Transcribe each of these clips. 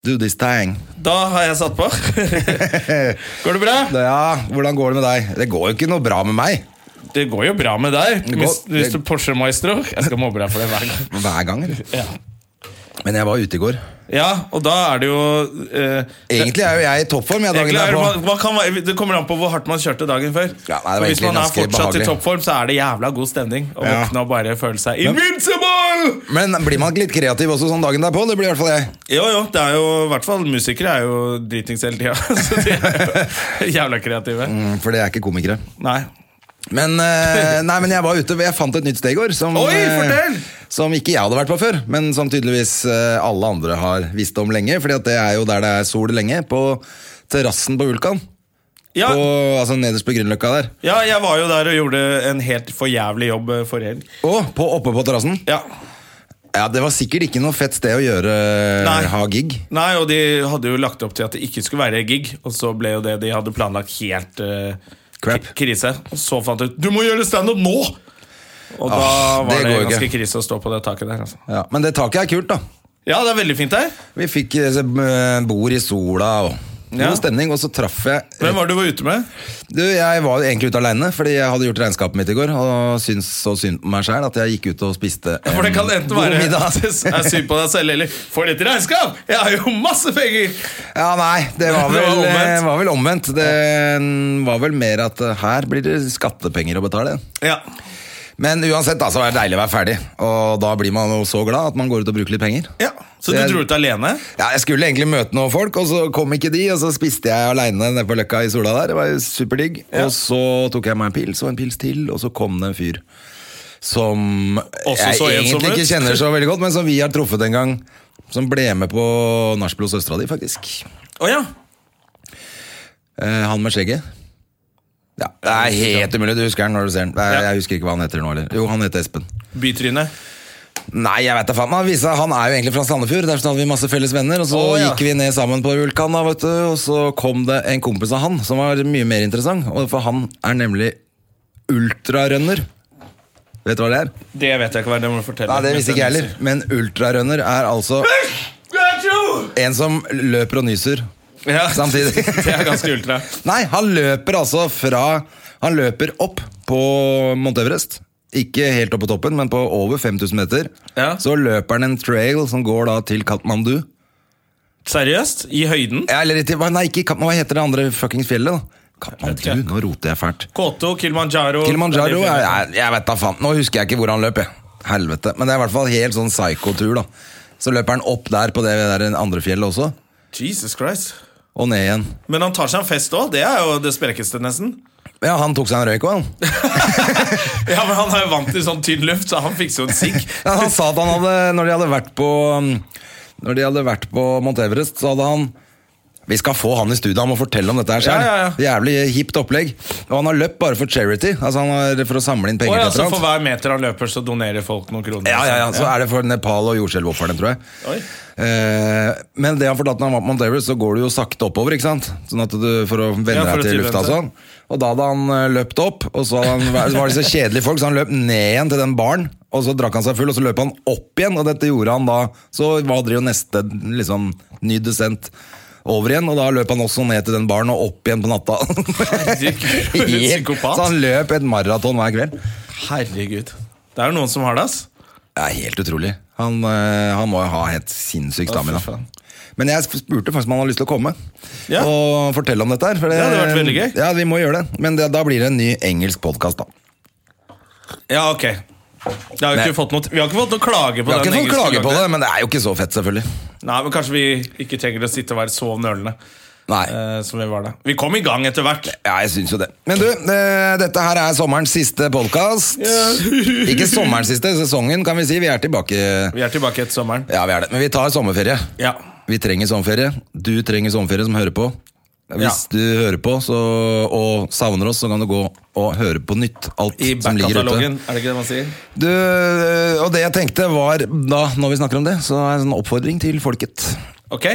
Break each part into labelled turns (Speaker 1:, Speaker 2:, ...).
Speaker 1: Do this thing.
Speaker 2: Da har jeg satt på. Går det bra?
Speaker 1: Ja, hvordan går det med deg? Det går jo ikke noe bra med meg.
Speaker 2: Det går jo bra med deg,
Speaker 1: Det går-
Speaker 2: Mis-
Speaker 1: det-
Speaker 2: Mr. Porsche Maestro. Jeg skal mobbe deg for det hver gang.
Speaker 1: Hver gang, eller?
Speaker 2: Ja.
Speaker 1: Men jeg var ute i går.
Speaker 2: Ja, og da er det jo eh,
Speaker 1: Egentlig er jo jeg i toppform. Jeg dagen
Speaker 2: Egentlig er det, man,
Speaker 1: derpå.
Speaker 2: man kan, være- det kommer an på hvor hardt man kjørte dagen før.
Speaker 1: Ja, nei, det var
Speaker 2: For Hvis
Speaker 1: egentlig
Speaker 2: man er
Speaker 1: ganske
Speaker 2: fortsatt
Speaker 1: behagelig.
Speaker 2: i toppform, så er det jævla god stemning å
Speaker 1: Ja.
Speaker 2: våkne og bare føle seg invincible!
Speaker 1: Men blir man ikke litt kreativ også sånn dagen derpå? Det blir i hvert fall jeg.
Speaker 2: Jo, jo, det er jo i hvert fall musikere er jo dritings hele tida. Så de er jo jævla kreative.
Speaker 1: Mm, For det er ikke komikere.
Speaker 2: Nei.
Speaker 1: Men, eh, nei, men jeg var ute. Jeg fant et nytt sted i går. Som,
Speaker 2: Oi,
Speaker 1: eh,
Speaker 2: fortell!
Speaker 1: som ikke jeg hadde vært på før, men som tydeligvis eh, alle andre har visst om lenge. Fordi at det er jo der det er sol lenge. På terrassen på Vulkan.
Speaker 2: Ja,
Speaker 1: På, altså nederst på Grünerløkka der.
Speaker 2: ja, jeg var jo der og gjorde en helt for jævlig jobb eh, forrige helg.
Speaker 1: Og på, oppe på terrassen.
Speaker 2: Ja.
Speaker 1: Ja, det var sikkert ikke noe fett sted å gjøre eh,
Speaker 2: Nei.
Speaker 1: ha gig.
Speaker 2: Nei, og de hadde jo lagt opp til at det ikke skulle være gig, og så ble jo det de hadde planlagt helt eh,
Speaker 1: Crap.
Speaker 2: k- krise. Og så fant de ut Du må gjøre standup nå! Og da
Speaker 1: Ah,
Speaker 2: var
Speaker 1: det
Speaker 2: det,
Speaker 1: går ikke.
Speaker 2: ganske krise å stå på det taket der. Altså.
Speaker 1: Ja, men det taket er kult, da.
Speaker 2: Ja, det er veldig fint der.
Speaker 1: Vi fikk eh, se- eh, bord i sola og god
Speaker 2: Ja.
Speaker 1: stemning. Og så traff jeg
Speaker 2: Hvem var det du var ute med?
Speaker 1: Du, Jeg var egentlig ute aleine, fordi jeg hadde gjort regnskapet mitt i går. Og syntes så synd på meg sjæl at jeg gikk ut og spiste en
Speaker 2: For det kan enten
Speaker 1: god
Speaker 2: være
Speaker 1: middag.
Speaker 2: at du er synd på deg selv, eller får litt regnskap! Jeg har jo masse penger!
Speaker 1: Ja, nei, det var
Speaker 2: Det
Speaker 1: vel,
Speaker 2: var
Speaker 1: det var
Speaker 2: omvendt.
Speaker 1: vel omvendt. Det var vel mer at eh, her blir det skattepenger å betale.
Speaker 2: Ja.
Speaker 1: Men uansett, da, så var det deilig å være ferdig. Og da blir man jo så glad at man går ut og bruker litt penger.
Speaker 2: ja. Så du
Speaker 1: Jeg-
Speaker 2: dro ut alene?
Speaker 1: Ja, Jeg skulle egentlig møte noen folk, og så kom ikke de. Og så spiste jeg aleine nede på løkka i sola der. Det var jo superdigg. Og så tok jeg meg en pils og en pils til, og så kom det en fyr som
Speaker 2: Også
Speaker 1: jeg
Speaker 2: så ensom
Speaker 1: egentlig ikke
Speaker 2: ut.
Speaker 1: kjenner så veldig godt, men som vi har truffet en gang. Som ble med på nachspiel hos søstera di, faktisk.
Speaker 2: Å ja.
Speaker 1: Eh, han med skjegget. Ja, Det er helt umulig. Du husker han når du ser han. Nei,
Speaker 2: Ja.
Speaker 1: Jeg husker ikke hva han heter nå heller. Jo, han heter Espen.
Speaker 2: Bytryne.
Speaker 1: Nei, jeg vet da faen. Han, viser seg- han er jo egentlig fra Sandefjord. Derfor hadde vi masse felles venner. Og så
Speaker 2: Å, ja.
Speaker 1: gikk vi ned sammen på Vulkan, da, vet du. Og så kom det en kompis av han som var mye mer interessant. Og for han er nemlig ultrarunner. Vet du hva det er?
Speaker 2: Det vet jeg ikke hva det må fortelle.
Speaker 1: Nei, Det visste ikke jeg heller. Men ultrarunner er altså
Speaker 2: Jeg tror!
Speaker 1: en som løper og nyser
Speaker 2: Ja.
Speaker 1: samtidig.
Speaker 2: Det er ganske ultra.
Speaker 1: Nei, han løper altså fra Han løper opp på Mount Everest. Ikke helt opp på toppen, men på over 5000 meter.
Speaker 2: Ja.
Speaker 1: Så løper han en trail som går da til Katmandu.
Speaker 2: Seriøst? I høyden?
Speaker 1: Ja, eller til, nei, ikke Katmandu, hva heter det andre fuckings fjellet? da?
Speaker 2: Jeg vet
Speaker 1: Katmandu,
Speaker 2: ikke.
Speaker 1: nå roter jeg fælt.
Speaker 2: Koto, Kilimanjaro
Speaker 1: Kilimanjaro, jeg, jeg, jeg vet da faen. Nå husker jeg ikke hvor han løp, jeg. Helvete. Men det er i hvert fall helt sånn psycho-tur, da. Så løper han opp der på det der andre fjellet også,
Speaker 2: Jesus Christ.
Speaker 1: og ned igjen.
Speaker 2: Men han tar seg en fest òg. Det er jo det sprekeste, nesten.
Speaker 1: Ja, han tok seg en røyk òg, han.
Speaker 2: Ja, men Han er jo vant til sånn tynn luft, så han fikser jo en sigg.
Speaker 1: Ja, han sa at han hadde, når de hadde vært på um, Når de hadde vært på Mount Everest, så hadde han Vi skal få han i studio, han må fortelle om dette her selv.
Speaker 2: Ja, ja,
Speaker 1: Jævlig hipt opplegg. Og han har løpt bare for charity, altså han har, for å samle inn
Speaker 2: Og
Speaker 1: penger.
Speaker 2: ja,
Speaker 1: til et
Speaker 2: så
Speaker 1: eller
Speaker 2: For
Speaker 1: annet.
Speaker 2: hver meter han løper, så donerer folk noen kroner.
Speaker 1: ja, ja, ja, Så er det for Nepal og jordskjelvofrene, tror jeg.
Speaker 2: Oi.
Speaker 1: Eh, men det han fortalte når han var på Mount Everest, så går du jo sakte oppover, ikke sant? Sånn at du, for å vende
Speaker 2: Ja, for å
Speaker 1: deg til
Speaker 2: tilvenne
Speaker 1: lufta og
Speaker 2: seg.
Speaker 1: sånn. Og da hadde han eh, løpt opp, og så, hadde han, vært- så var det så kjedelige folk, så han løp ned igjen til den baren, og så drakk han seg full, og så løp han opp igjen, og dette gjorde han da. Så var det jo neste liksom, ny descent over igjen, og da løp han også ned til den baren og opp igjen på natta.
Speaker 2: Herregud, for en
Speaker 1: Helt-
Speaker 2: psykopat.
Speaker 1: Så han løp et maraton hver kveld.
Speaker 2: altså. Herregud. Det er jo noen som har det, ass.
Speaker 1: Det er helt utrolig. Han, eh, han må jo ha helt sinnssyk stamina. Men jeg spurte faktisk om han hadde lyst til å komme
Speaker 2: Ja.
Speaker 1: og fortelle om dette. her for
Speaker 2: Det hadde vært veldig gøy.
Speaker 1: Ja, vi må gjøre det. Men det, da blir det en ny engelsk podkast, da.
Speaker 2: Ja, ok. Det har jo
Speaker 1: Nei.
Speaker 2: ikke fått noe, vi har ikke fått noe klage på
Speaker 1: Vi har
Speaker 2: den
Speaker 1: ikke fått
Speaker 2: engelske
Speaker 1: klage på
Speaker 2: lageren.
Speaker 1: det, men det er jo ikke så fett, selvfølgelig.
Speaker 2: Nei, men Kanskje vi ikke trenger å sitte og være så nølende
Speaker 1: Nei.
Speaker 2: eh, som vi var da. Vi kom i gang etter hvert.
Speaker 1: Ja, jeg syns jo det. Men du, eh, dette her er sommerens siste podkast. ikke sommerens siste, sesongen, kan vi si. Vi er tilbake.
Speaker 2: Vi er tilbake etter sommeren.
Speaker 1: Ja, vi er det. Men vi tar sommerferie.
Speaker 2: Ja.
Speaker 1: Vi trenger sommerferie. Du trenger sommerferie som hører på. Hvis
Speaker 2: Ja.
Speaker 1: du hører på så, og savner oss, så kan du gå og høre på nytt. Alt
Speaker 2: I
Speaker 1: som ligger ute.
Speaker 2: back-katalogen, er det ikke det man sier?
Speaker 1: Du, og det jeg tenkte var da, Når vi snakker om det, så er det en sånn oppfordring til folket.
Speaker 2: Ok,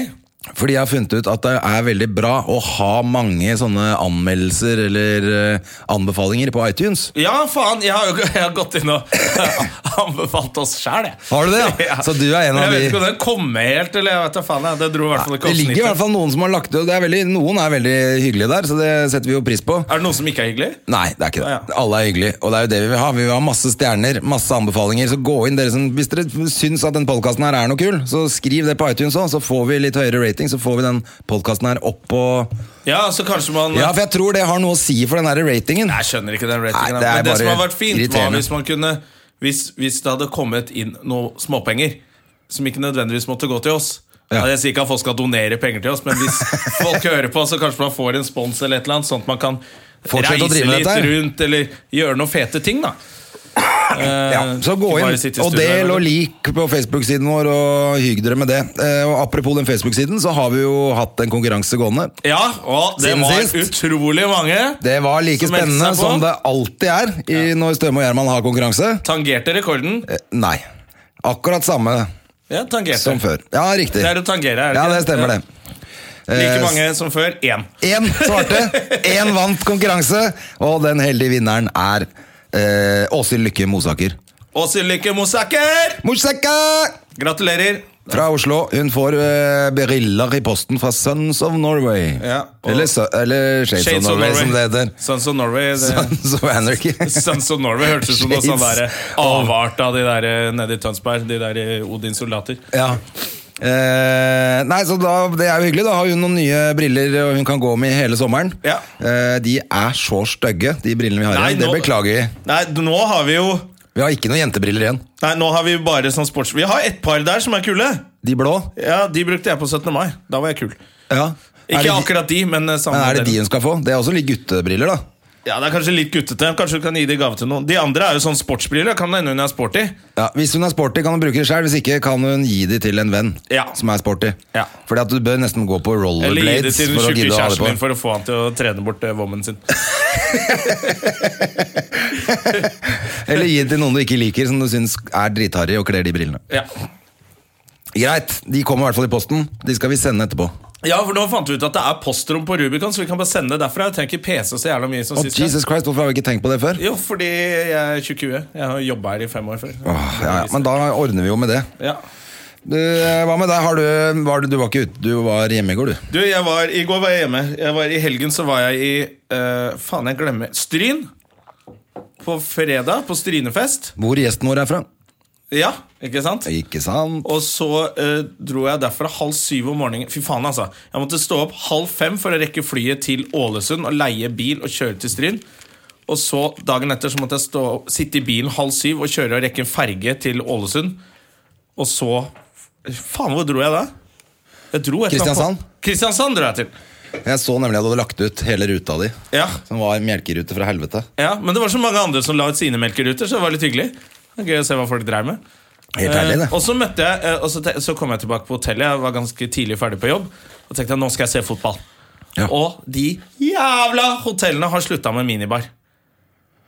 Speaker 1: Fordi jeg har funnet ut at det er veldig bra å ha mange sånne anmeldelser eller eh, anbefalinger på iTunes.
Speaker 2: ja faen, jeg har jo jeg har gått inn og anbefalt oss sjæl, jeg.
Speaker 1: Har du det? Ja? Så du er en av
Speaker 2: Jeg vet
Speaker 1: de
Speaker 2: ikke om den kom med helt, eller jeg vet da faen. jeg. Det dro i hvert fall ikke
Speaker 1: Det
Speaker 2: opp
Speaker 1: ligger i
Speaker 2: snittet.
Speaker 1: hvert fall noen som har lagt det, og det er veldig, noen er veldig hyggelige der, så det setter vi jo pris på.
Speaker 2: Er det noe som ikke er hyggelig?
Speaker 1: Nei, det er ikke
Speaker 2: Ja,
Speaker 1: det. Alle er hyggelige, og det er jo det vi vil ha. Vi vil ha masse stjerner, masse anbefalinger. Så gå inn dere som, Hvis dere syns at den podkasten her er noe kul, så skriv det på iTunes òg, så får vi litt høyere rating. Så får vi den podkasten her opp på
Speaker 2: Ja, så kanskje man
Speaker 1: Ja, for jeg tror det har noe å si for den her ratingen.
Speaker 2: Jeg skjønner ikke den
Speaker 1: Nei,
Speaker 2: ratingen.
Speaker 1: det er
Speaker 2: men det
Speaker 1: bare
Speaker 2: som hadde vært fint, var
Speaker 1: irriterende.
Speaker 2: hvis man kunne hvis, hvis det hadde kommet inn noen småpenger som ikke nødvendigvis måtte gå til oss.
Speaker 1: Ja.
Speaker 2: Jeg sier ikke at folk skal donere penger til oss, men hvis folk hører på, så kanskje man får en spons eller et eller annet, sånn at man kan
Speaker 1: Fortsette
Speaker 2: reise
Speaker 1: å drive med
Speaker 2: litt
Speaker 1: dette her.
Speaker 2: rundt eller gjøre noen fete ting, da. Eh,
Speaker 1: Ja, så gå
Speaker 2: Ikke bare
Speaker 1: inn
Speaker 2: sitte i
Speaker 1: og
Speaker 2: studio her,
Speaker 1: del og
Speaker 2: eller?
Speaker 1: lik på Facebook-siden vår, og hygg dere med det. Eh, Og apropos den Facebook-siden, så har vi jo hatt en konkurranse gående.
Speaker 2: Ja, og det
Speaker 1: Siden
Speaker 2: var
Speaker 1: sist.
Speaker 2: utrolig mange.
Speaker 1: Det var like
Speaker 2: Som meldte
Speaker 1: spennende
Speaker 2: seg på.
Speaker 1: som det alltid er i, når Støme og Gjerman har konkurranse.
Speaker 2: Tangerte rekorden.
Speaker 1: Eh, Nei. Akkurat samme
Speaker 2: Ja, tangerte.
Speaker 1: som før. Ja, riktig.
Speaker 2: Det er å tangere, er det
Speaker 1: Ja,
Speaker 2: ikke
Speaker 1: det stemmer det. Eh,
Speaker 2: Like mange som før. Én.
Speaker 1: Én svarte, én vant konkurranse, og den heldige vinneren er eh, Åshild Lykke Mosaker.
Speaker 2: Og Silke Mosaker!
Speaker 1: Mosakke!
Speaker 2: Gratulerer.
Speaker 1: Fra Oslo. Hun får eh, briller i posten fra Sons of Norway.
Speaker 2: Ja, og-
Speaker 1: eller, Su- eller Shades,
Speaker 2: Shades
Speaker 1: of Norway, som det heter.
Speaker 2: Sons of Norway. Det.
Speaker 1: Sons of Anarchy.
Speaker 2: Sons of Norway hørtes ut som noe sånn
Speaker 1: Shades
Speaker 2: der avart av de der eh, nede i Tønsberg. De der eh, Odins soldater.
Speaker 1: Ja. Eh, nei, så da, Det er jo hyggelig. Da har hun noen nye briller og hun kan gå med i hele sommeren.
Speaker 2: Ja.
Speaker 1: Eh, de er så stygge, de brillene vi har
Speaker 2: Nei,
Speaker 1: igjen. Det
Speaker 2: nå-
Speaker 1: beklager vi.
Speaker 2: Nei, nå har vi jo
Speaker 1: Vi har ikke noen jentebriller igjen.
Speaker 2: Nei, nå har vi bare sånn sports... Vi har et par der som er kule.
Speaker 1: De blå.
Speaker 2: Ja, De brukte jeg på 17. mai. Da var jeg kul.
Speaker 1: Ja. Er det
Speaker 2: Ikke
Speaker 1: de-
Speaker 2: akkurat de, men eh, samme
Speaker 1: Men er det de
Speaker 2: modell.
Speaker 1: hun skal få? Det er også litt guttebriller, da.
Speaker 2: Ja, Det er kanskje litt guttete. Kanskje du kan gi det i gave til noen. De andre er jo sånn sportsbriller. Kan det hende hun er sporty?
Speaker 1: Ja, hvis hun er sporty, kan hun bruke det selv Hvis ikke, kan hun gi de til en venn
Speaker 2: Ja.
Speaker 1: som er sporty.
Speaker 2: Ja.
Speaker 1: Fordi at du bør nesten gå på
Speaker 2: Eller gi det
Speaker 1: rollerblades
Speaker 2: til den
Speaker 1: for å
Speaker 2: tjukke
Speaker 1: gidde å ha det
Speaker 2: kjæresten
Speaker 1: på.
Speaker 2: din for å få han til å trene bort eh, vommen sin.
Speaker 1: Eller gi det til noen du ikke liker, som du syns er dritharry og kler de brillene.
Speaker 2: Ja.
Speaker 1: Greit, de kommer i hvert fall i posten. De skal vi sende etterpå.
Speaker 2: ja, for nå fant vi ut at det er postrom på Rubicon, så vi kan bare sende det derfra. Jeg trenger ikke pese så jævla mye som
Speaker 1: Å,
Speaker 2: sist. gang.
Speaker 1: Jesus Christ, Hvorfor har vi ikke tenkt på det før?
Speaker 2: Jo, fordi jeg er tjukk i huet. Jeg har jobba her i fem år før.
Speaker 1: Åh, ja, ja. Men da ordner vi jo med det.
Speaker 2: Ja.
Speaker 1: Du, eh, hva med deg? Har du, var du, du var ikke ute, du var hjemme i går, du.
Speaker 2: Du, jeg var, I går var jeg hjemme. Jeg var, I helgen så var jeg i eh, Faen, jeg glemmer Stryn. På fredag, på Strynefest.
Speaker 1: Hvor gjesten vår er fra.
Speaker 2: Ja, ikke sant?
Speaker 1: Ikke sant?
Speaker 2: Og så eh, dro jeg derfra halv syv om morgenen. Fy faen, altså. Jeg måtte stå opp halv fem for å rekke flyet til Ålesund og leie bil og kjøre til Stryn. Og så dagen etter så måtte jeg stå, sitte i bilen halv syv og kjøre og rekke en ferge til Ålesund. Og så Faen, hvor dro jeg da? Jeg dro et eller annet på-
Speaker 1: Kristiansand?
Speaker 2: Kristiansand dro jeg til.
Speaker 1: Jeg så nemlig at du hadde lagt ut hele ruta di,
Speaker 2: Ja,
Speaker 1: som var melkerute fra helvete.
Speaker 2: ja, Men det var så mange andre som la ut sine melkeruter, så det var litt hyggelig. Det var Gøy å se hva folk dreiv med.
Speaker 1: Helt ærlig, det.
Speaker 2: Eh, Og så møtte jeg eh, og så, te- så kom jeg tilbake på hotellet Jeg var ganske tidlig ferdig på jobb Og tenkte at nå skal jeg se fotball
Speaker 1: Ja.
Speaker 2: Og de jævla hotellene har sluttet med minibar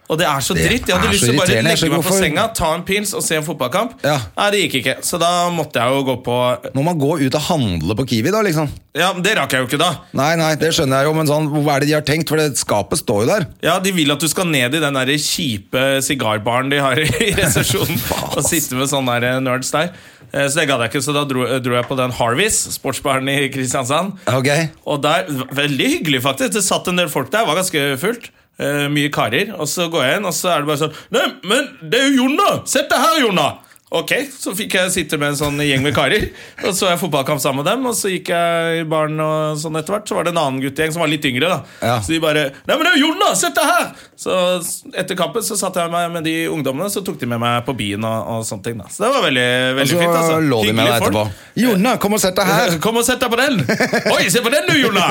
Speaker 2: Og det er så
Speaker 1: Det
Speaker 2: dritt Jeg hadde
Speaker 1: er
Speaker 2: lyst
Speaker 1: så
Speaker 2: til å bare
Speaker 1: irriterende. Jeg
Speaker 2: legge meg
Speaker 1: skjønner
Speaker 2: på
Speaker 1: hvorfor-
Speaker 2: senga Ta en pils og se en fotballkamp
Speaker 1: Ja.
Speaker 2: Nei, det gikk ikke Så da måtte jeg jo gå på
Speaker 1: Må man gå ut og handle på Kiwi, da? liksom?
Speaker 2: Ja, men det rakk jeg jo ikke da
Speaker 1: Nei, nei, det skjønner jeg jo, men sånn, hva er det de har tenkt? For det skapet står jo der.
Speaker 2: Ja, de vil at du skal ned i den der kjipe sigarbaren de har i resepsjonen. og sitte med sånne der nerds der. Eh, Så det gadd jeg ikke, så da dro, dro jeg på den Harvis, sportsbaren i Kristiansand.
Speaker 1: Ok?
Speaker 2: Og der, Veldig hyggelig, faktisk. Det satt en del folk der. var ganske fullt. Eh, mye karer. Og så går jeg inn, og så er det bare sånn Nei, men det er jo Jonna! Sett deg her, Jonna! Ok, Så fikk jeg sitte med en sånn gjeng med karer. Og så jeg fotballkamp sammen med dem, og så gikk jeg i baren og sånn etter hvert. Så var det en annen guttegjeng som var litt yngre, da.
Speaker 1: Ja.
Speaker 2: Så de bare Nei, men det er jo Jonna! Sett deg her! Så s- etter kampen så satt jeg meg med de ungdommene, så tok de med meg på byen og, og sånne ting. da Så det var veldig,
Speaker 1: Og
Speaker 2: veldig
Speaker 1: så
Speaker 2: fint. altså
Speaker 1: lå de med deg
Speaker 2: Hyggelige folk.
Speaker 1: etterpå. Jonna, kom og sett deg her!
Speaker 2: Kom og sett deg på den! Oi, se på den du, Jonna!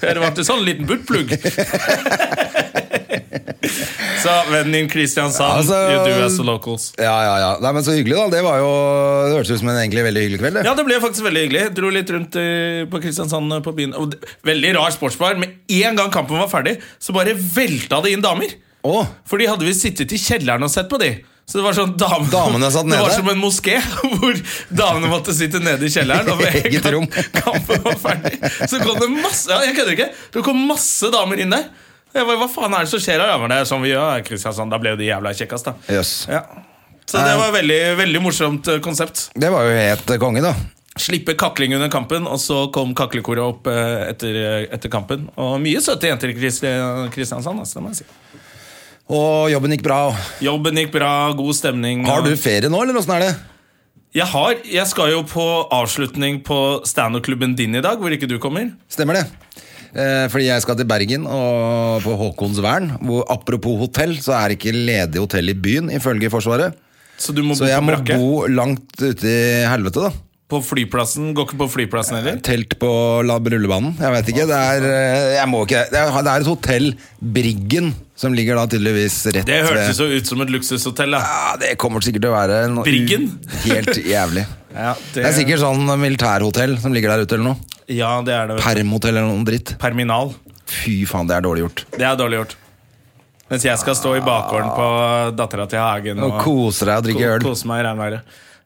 Speaker 2: Det ble en sånn liten buttplugg. Så vennen din Kristiansand,
Speaker 1: Ja, altså-
Speaker 2: you do as the locals.
Speaker 1: Ja, ja, ja. Nei, men så hyggelig, da. Det var jo Det hørtes ut som en egentlig veldig hyggelig kveld. det.
Speaker 2: Ja, det ble faktisk veldig hyggelig. Dro litt rundt eh, på Kristiansand eh, på byen. Og det- Veldig rar sportsbar. Med en gang kampen var ferdig, så bare velta det inn damer.
Speaker 1: Å,
Speaker 2: For de hadde vi sittet i kjelleren og sett på de. Så det var sånn dame,
Speaker 1: Damene satt
Speaker 2: Det var
Speaker 1: nede?
Speaker 2: som en moské, hvor damene måtte sitte nede i kjelleren. Og med en
Speaker 1: Eget
Speaker 2: gang
Speaker 1: rom.
Speaker 2: kampen var ferdig, så kom det masse ja, Jeg kødder ikke. Det kom masse damer inn der. Og Jeg bare, Hva faen er det som skjer her? Ja, men det er sånn vi gjør her i Kristiansand. Da ble jo de jævla kjekkest, da.
Speaker 1: Jøss.
Speaker 2: Ja. Så det var veldig, veldig morsomt eh, konsept.
Speaker 1: Det var jo helt eh, konge, da.
Speaker 2: Slippe kakling under kampen, og så kom kaklekoret opp eh, etter, etter kampen. Og mye søte jenter i Kristi- Kristiansand. Altså, det må jeg si.
Speaker 1: Og jobben gikk bra.
Speaker 2: Jobben gikk bra, god stemning.
Speaker 1: Har du
Speaker 2: og-
Speaker 1: ferie nå, eller åssen er det?
Speaker 2: Jeg har, jeg skal jo på avslutning på standup-klubben din i dag, hvor ikke du kommer.
Speaker 1: Stemmer det. Eh, fordi jeg skal til Bergen og på Håkonsvern. Hvor, apropos hotell, så er det ikke ledig hotell i byen, ifølge Forsvaret.
Speaker 2: Så du må
Speaker 1: Så
Speaker 2: bo
Speaker 1: jeg
Speaker 2: på
Speaker 1: må
Speaker 2: brakke.
Speaker 1: bo langt ute i helvete, da.
Speaker 2: På flyplassen. Går ikke på flyplassen heller.
Speaker 1: Telt på la- rullebanen. Jeg vet ikke. Det er, eh, jeg må ikke, det er det er et hotell, Briggen, som ligger da tydeligvis rett
Speaker 2: Det hørtes
Speaker 1: ved
Speaker 2: jo ut som et luksushotell. da.
Speaker 1: ja, Det kommer sikkert til å være noe
Speaker 2: Briggen?
Speaker 1: helt jævlig.
Speaker 2: Ja,
Speaker 1: Det er sikkert sånn militærhotell som ligger der ute, eller noe.
Speaker 2: Ja, det er det.
Speaker 1: Permhotell eller noe dritt.
Speaker 2: Perminal.
Speaker 1: Fy faen, det er dårlig gjort.
Speaker 2: Det er dårlig gjort. Mens jeg skal stå i bakgården på dattera til Hagen
Speaker 1: Og koser deg og drikker
Speaker 2: ko-
Speaker 1: øl.
Speaker 2: kose meg i regnværet.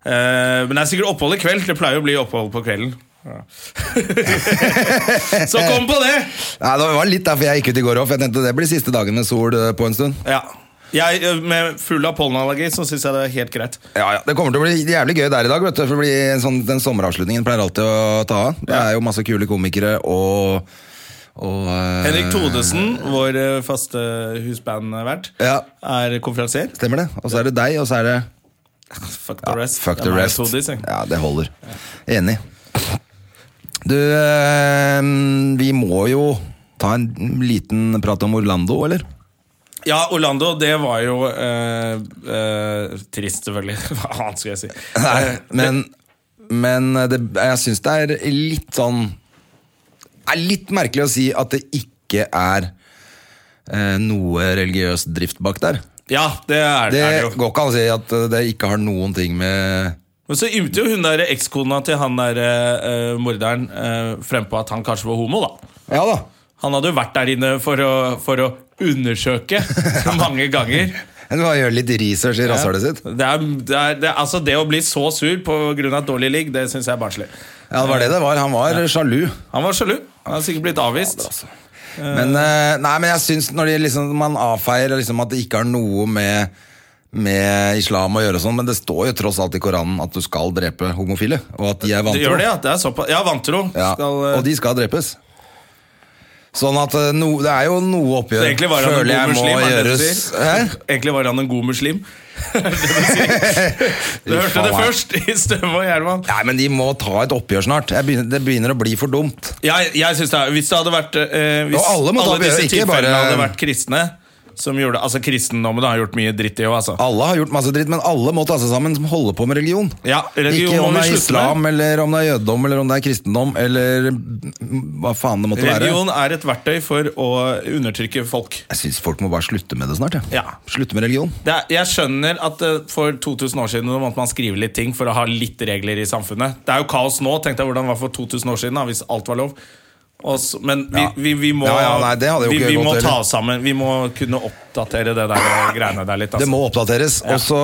Speaker 2: Eh, men det er sikkert opphold i kveld. Det pleier jo å bli opphold på kvelden. Ja. Så kom på det!
Speaker 1: Nei, Det var litt derfor jeg gikk ut i går òg, for jeg tenkte det blir siste dagen med sol eh, på en stund.
Speaker 2: Ja. Jeg, eh, med full av pollenallergi så syns jeg det er helt greit.
Speaker 1: Ja, ja, Det kommer til å bli jævlig gøy der i dag. vet du for det blir en sånn, Den sommeravslutningen pleier alltid å ta av. Det er jo masse kule komikere og, og eh,
Speaker 2: Henrik Thodesen, vår eh, faste husbandvert,
Speaker 1: Ja.
Speaker 2: er konferansier.
Speaker 1: Stemmer det. Og så er det deg, og så er det
Speaker 2: Fuck the rest.
Speaker 1: Fuck the
Speaker 2: Jeg er
Speaker 1: rest.
Speaker 2: Todis, jeg.
Speaker 1: Ja, det holder. Enig. Du, eh, vi må jo ta en liten prat om Orlando, eller?
Speaker 2: Ja, Orlando, det var jo eh, eh, trist, selvfølgelig. Hva annet skulle jeg si?
Speaker 1: Nei, men, men det, jeg syns det er litt sånn er litt merkelig å si at det ikke er eh, noe religiøs drift bak der.
Speaker 2: Ja, det er det,
Speaker 1: Det
Speaker 2: er det jo.
Speaker 1: går ikke an å si at eh, det ikke har noen ting med
Speaker 2: Men så ymte jo hun der ekskona til han der eh, morderen eh, frempå at han kanskje var homo, da.
Speaker 1: Ja da.
Speaker 2: Han hadde jo vært der inne for å, for å undersøke mange ganger.
Speaker 1: En må gjøre litt research i rasshølet sitt.
Speaker 2: Det, er, det, er, det, altså det å bli så sur pga. et dårlig ligg, det syns jeg er barnslig.
Speaker 1: Ja, det var det det var. Han var sjalu.
Speaker 2: Han var sjalu. Han har sikkert blitt avvist.
Speaker 1: altså- Men, eh, nei, men jeg syns når de liksom, man avfeier liksom at det ikke har noe med, med islam å gjøre, og sånn, men det står jo tross alt i Koranen at du skal drepe homofile. Og at de er
Speaker 2: Det
Speaker 1: vantro.
Speaker 2: gjør det, ja. Det er såpass. Ja, vantro.
Speaker 1: Ja.
Speaker 2: Skal, eh,
Speaker 1: Og de skal drepes. Sånn at eh, no, det er jo noe oppgjør
Speaker 2: så egentlig var han en
Speaker 1: føler
Speaker 2: god
Speaker 1: jeg må
Speaker 2: muslim. er det det du
Speaker 1: gjøres.
Speaker 2: sier?
Speaker 1: Hæ?
Speaker 2: Egentlig var han en god muslim. Det er det du sier. du
Speaker 1: Fy
Speaker 2: hørte det
Speaker 1: faen.
Speaker 2: først i Støme og Gjerman.
Speaker 1: Nei, men de må ta et oppgjør snart. Jeg begynner, det begynner å bli for dumt.
Speaker 2: Jeg, jeg synes det er, Hvis det hadde vært eh, Hvis
Speaker 1: Og alle må ta oppgjøret,
Speaker 2: disse
Speaker 1: ikke
Speaker 2: tilfellene
Speaker 1: bare-
Speaker 2: hadde vært kristne som gjorde, Altså Kristendommen har gjort mye dritt, det òg, altså.
Speaker 1: Alle har gjort masse dritt, men alle må ta seg sammen som holder på med religion.
Speaker 2: Ja, religion
Speaker 1: ikke
Speaker 2: må
Speaker 1: om
Speaker 2: vi
Speaker 1: det er
Speaker 2: slutte
Speaker 1: islam, eller om det er jødedom, eller om det er kristendom, eller mm, hva faen det måtte være.
Speaker 2: Religion er et verktøy for å undertrykke folk.
Speaker 1: Jeg syns folk må bare slutte med det snart. jeg.
Speaker 2: Ja.
Speaker 1: Slutte med religion.
Speaker 2: det er, jeg skjønner at eh, for 2000 år siden så måtte man skrive litt ting for å ha litt regler i samfunnet. Det er jo kaos nå. Tenk deg hvordan det var for 2000 år siden, da, hvis alt var lov. Og så- men vi,
Speaker 1: Ja.
Speaker 2: vi, vi må,
Speaker 1: Ja, ja, nei, det hadde jo
Speaker 2: vi,
Speaker 1: ikke
Speaker 2: vi
Speaker 1: gått
Speaker 2: må ta
Speaker 1: heller.
Speaker 2: oss sammen. Vi må kunne oppdatere det der eh, greiene der litt. altså.
Speaker 1: Det må oppdateres. Og så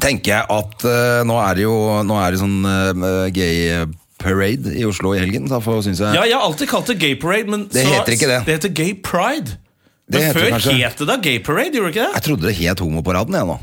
Speaker 1: tenker jeg at eh, nå er det jo nå er det sånn eh, gay parade i Oslo i helgen. Derfor synes jeg
Speaker 2: Ja, jeg har alltid kalt det gay parade, men
Speaker 1: Det heter ikke det.
Speaker 2: det heter gay pride.
Speaker 1: Det
Speaker 2: Men
Speaker 1: heter det
Speaker 2: før
Speaker 1: kanskje.
Speaker 2: het det da gay parade, gjorde det ikke det?
Speaker 1: Jeg trodde det het homoparaden, jeg nå.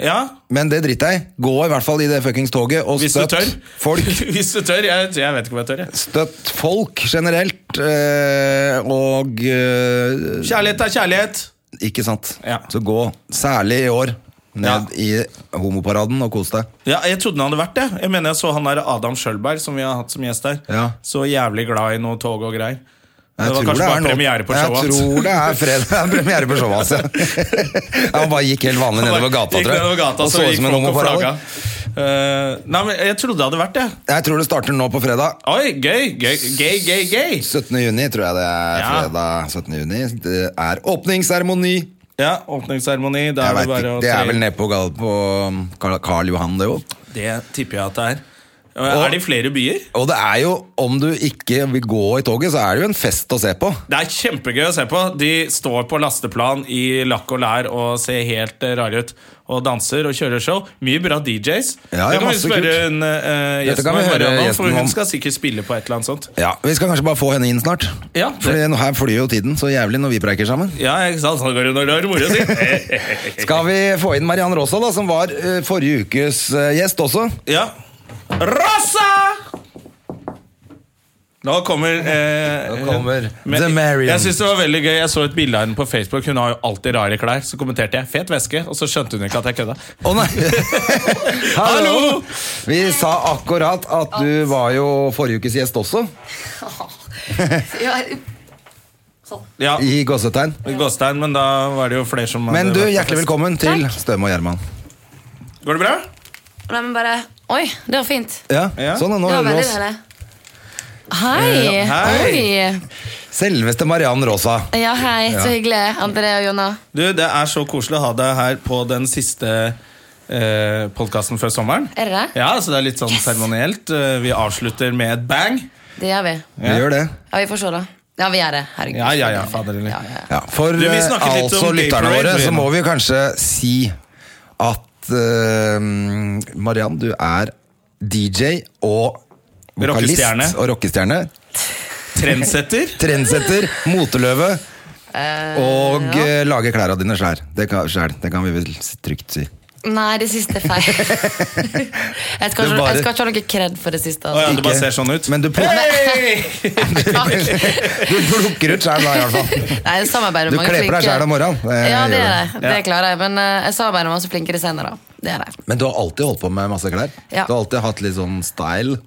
Speaker 2: Ja,
Speaker 1: Men det driter jeg i. Gå i hvert fall i det fuckings toget og
Speaker 2: Hvis du
Speaker 1: støtt
Speaker 2: tør.
Speaker 1: folk.
Speaker 2: Hvis du tør. Jeg, jeg vet ikke om jeg tør. jeg.
Speaker 1: Støtt folk generelt. eh, Og eh,
Speaker 2: Kjærlighet er kjærlighet.
Speaker 1: Ikke sant.
Speaker 2: Ja.
Speaker 1: Så gå, særlig i år,
Speaker 2: Ja.
Speaker 1: ned i homoparaden og kos deg.
Speaker 2: Ja, jeg trodde han hadde vært det. Jeg mener jeg så han der Adam Schjølberg, som vi har hatt som gjest her.
Speaker 1: Ja.
Speaker 2: Så jævlig glad i noe tog og greier.
Speaker 1: Jeg
Speaker 2: Det var
Speaker 1: tror
Speaker 2: kanskje bare
Speaker 1: er nå-
Speaker 2: premiere på showet altså.
Speaker 1: Jeg
Speaker 2: hans.
Speaker 1: tror det er fredag premiere på showet hans. ja. Han bare gikk helt vanlig nedover gata,
Speaker 2: Gikk
Speaker 1: tror jeg.
Speaker 2: nedover gata,
Speaker 1: og
Speaker 2: så
Speaker 1: så ut
Speaker 2: gikk
Speaker 1: som en
Speaker 2: folk og
Speaker 1: homoparal.
Speaker 2: flagga. Eh, nei, men jeg trodde det hadde vært det.
Speaker 1: Jeg tror det starter nå på fredag.
Speaker 2: Oi, gøy! Gøy, gøy, gøy! gøy.
Speaker 1: 17. juni tror jeg det er
Speaker 2: Ja.
Speaker 1: fredag 17. juni. Det er åpningsseremoni.
Speaker 2: Ja, åpningsseremoni. Det
Speaker 1: Jeg
Speaker 2: er, det
Speaker 1: vet
Speaker 2: bare
Speaker 1: ikke,
Speaker 2: å
Speaker 1: det er vel
Speaker 2: tre-
Speaker 1: nede på, gal- på um, Karl, Karl Johan, det jo.
Speaker 2: det tipper jeg at det er. Er det i flere byer?
Speaker 1: Og det er jo, om du ikke vil gå i toget, så er det jo en fest å se på.
Speaker 2: Det er kjempegøy å se på. De står på lasteplan i lakk og lær og ser helt eh, rare ut. Og danser og kjører show. Mye bra DJs.
Speaker 1: Ja, ja,
Speaker 2: det kan vi
Speaker 1: masse
Speaker 2: spørre
Speaker 1: kult.
Speaker 2: en, eh,
Speaker 1: Dette
Speaker 2: gjesten
Speaker 1: kan vi
Speaker 2: om,
Speaker 1: høre
Speaker 2: Marianne, om,
Speaker 1: gjesten
Speaker 2: for
Speaker 1: om.
Speaker 2: hun skal sikkert spille på et eller annet sånt.
Speaker 1: Ja, Vi skal kanskje bare få henne inn snart.
Speaker 2: Ja,
Speaker 1: For her flyr jo tiden så jævlig når vi preiker sammen.
Speaker 2: Ja, ikke sant? Sånn går det når du har moro si.
Speaker 1: Skal vi få inn Mariann Rosa, da, som var eh, forrige ukes eh, gjest også?
Speaker 2: Ja. Rosa! Nå kommer, eh,
Speaker 1: Nå kommer
Speaker 2: men-
Speaker 1: The Marion.
Speaker 2: Jeg synes det var veldig gøy Jeg så et bilde av henne på Facebook. Hun har jo alltid rare klær. Så kommenterte jeg 'fet væske', og så skjønte hun ikke at jeg kødda.
Speaker 1: Å nei!
Speaker 2: Hallo!
Speaker 1: Vi sa akkurat at du var jo forrige ukes gjest også,
Speaker 3: Ja,
Speaker 2: Ja,
Speaker 1: i gåsetegn.
Speaker 2: Gåstein, men da var det jo flere som hadde
Speaker 1: Men du,
Speaker 2: vært på
Speaker 1: hjertelig
Speaker 2: fest.
Speaker 1: velkommen til Støme og Gjerman.
Speaker 2: Går det bra?
Speaker 3: nei, men bare Oi, det var fint.
Speaker 1: Ja,
Speaker 2: Ja.
Speaker 1: sånn nå
Speaker 3: Det
Speaker 1: hører
Speaker 3: var
Speaker 1: du
Speaker 3: veldig
Speaker 1: oss.
Speaker 3: deilig. Hei.
Speaker 2: Eh, hei.
Speaker 3: Oi.
Speaker 1: Selveste Mariann Rosa.
Speaker 3: Ja, hei. Så hyggelig. André og Jonna.
Speaker 2: Du, Det er så koselig å ha deg her på den siste eh, podkasten før sommeren.
Speaker 3: Er det det?
Speaker 2: Ja, så det er litt sånn seremonielt. Eh, Vi avslutter med et bang.
Speaker 3: Det gjør vi.
Speaker 1: Vi gjør det.
Speaker 3: Ja, vi får se, da. Ja, vi gjør det. Herregud.
Speaker 2: Ja, ja, ja, fader, eller?
Speaker 3: Ja, ja.
Speaker 1: Ja, for
Speaker 2: Du, vi
Speaker 1: eh,
Speaker 2: snakket litt
Speaker 1: altså
Speaker 2: om Gay
Speaker 1: lytterne
Speaker 2: Parade,
Speaker 1: våre,
Speaker 2: Lena.
Speaker 1: så må vi jo kanskje si at eh, Mariann, du er DJ og vokalist
Speaker 2: Rockestjerne.
Speaker 1: og rockestjerne.
Speaker 2: Trendsetter.
Speaker 1: Trendsetter, moteløve og eh, lager klærne dine sjæl. Det, kan- sjæl, det kan vi vel s- trygt si.
Speaker 3: Nei, det siste er feil. jeg, skal
Speaker 1: Det
Speaker 3: ikke,
Speaker 1: var
Speaker 3: jeg
Speaker 1: det.
Speaker 3: skal ikke ha noe kred for det siste.
Speaker 2: Å ja,
Speaker 3: Altså.
Speaker 2: det bare ser sånn ut.
Speaker 1: Men du, pluk
Speaker 2: Hei!
Speaker 1: du plukker ut sjæl da, i hvert fall.
Speaker 3: Nei, jeg samarbeider
Speaker 1: Du
Speaker 3: med mange
Speaker 1: kler på deg
Speaker 3: flinke-
Speaker 1: selv om morgenen. Det
Speaker 3: Ja, det er
Speaker 1: gjør
Speaker 3: det. Det klarer jeg. Men eh, jeg samarbeider med masse flinke designere. Det er det.
Speaker 1: Men du har alltid holdt på med masse klær.
Speaker 3: Ja.
Speaker 1: Du har alltid hatt litt sånn style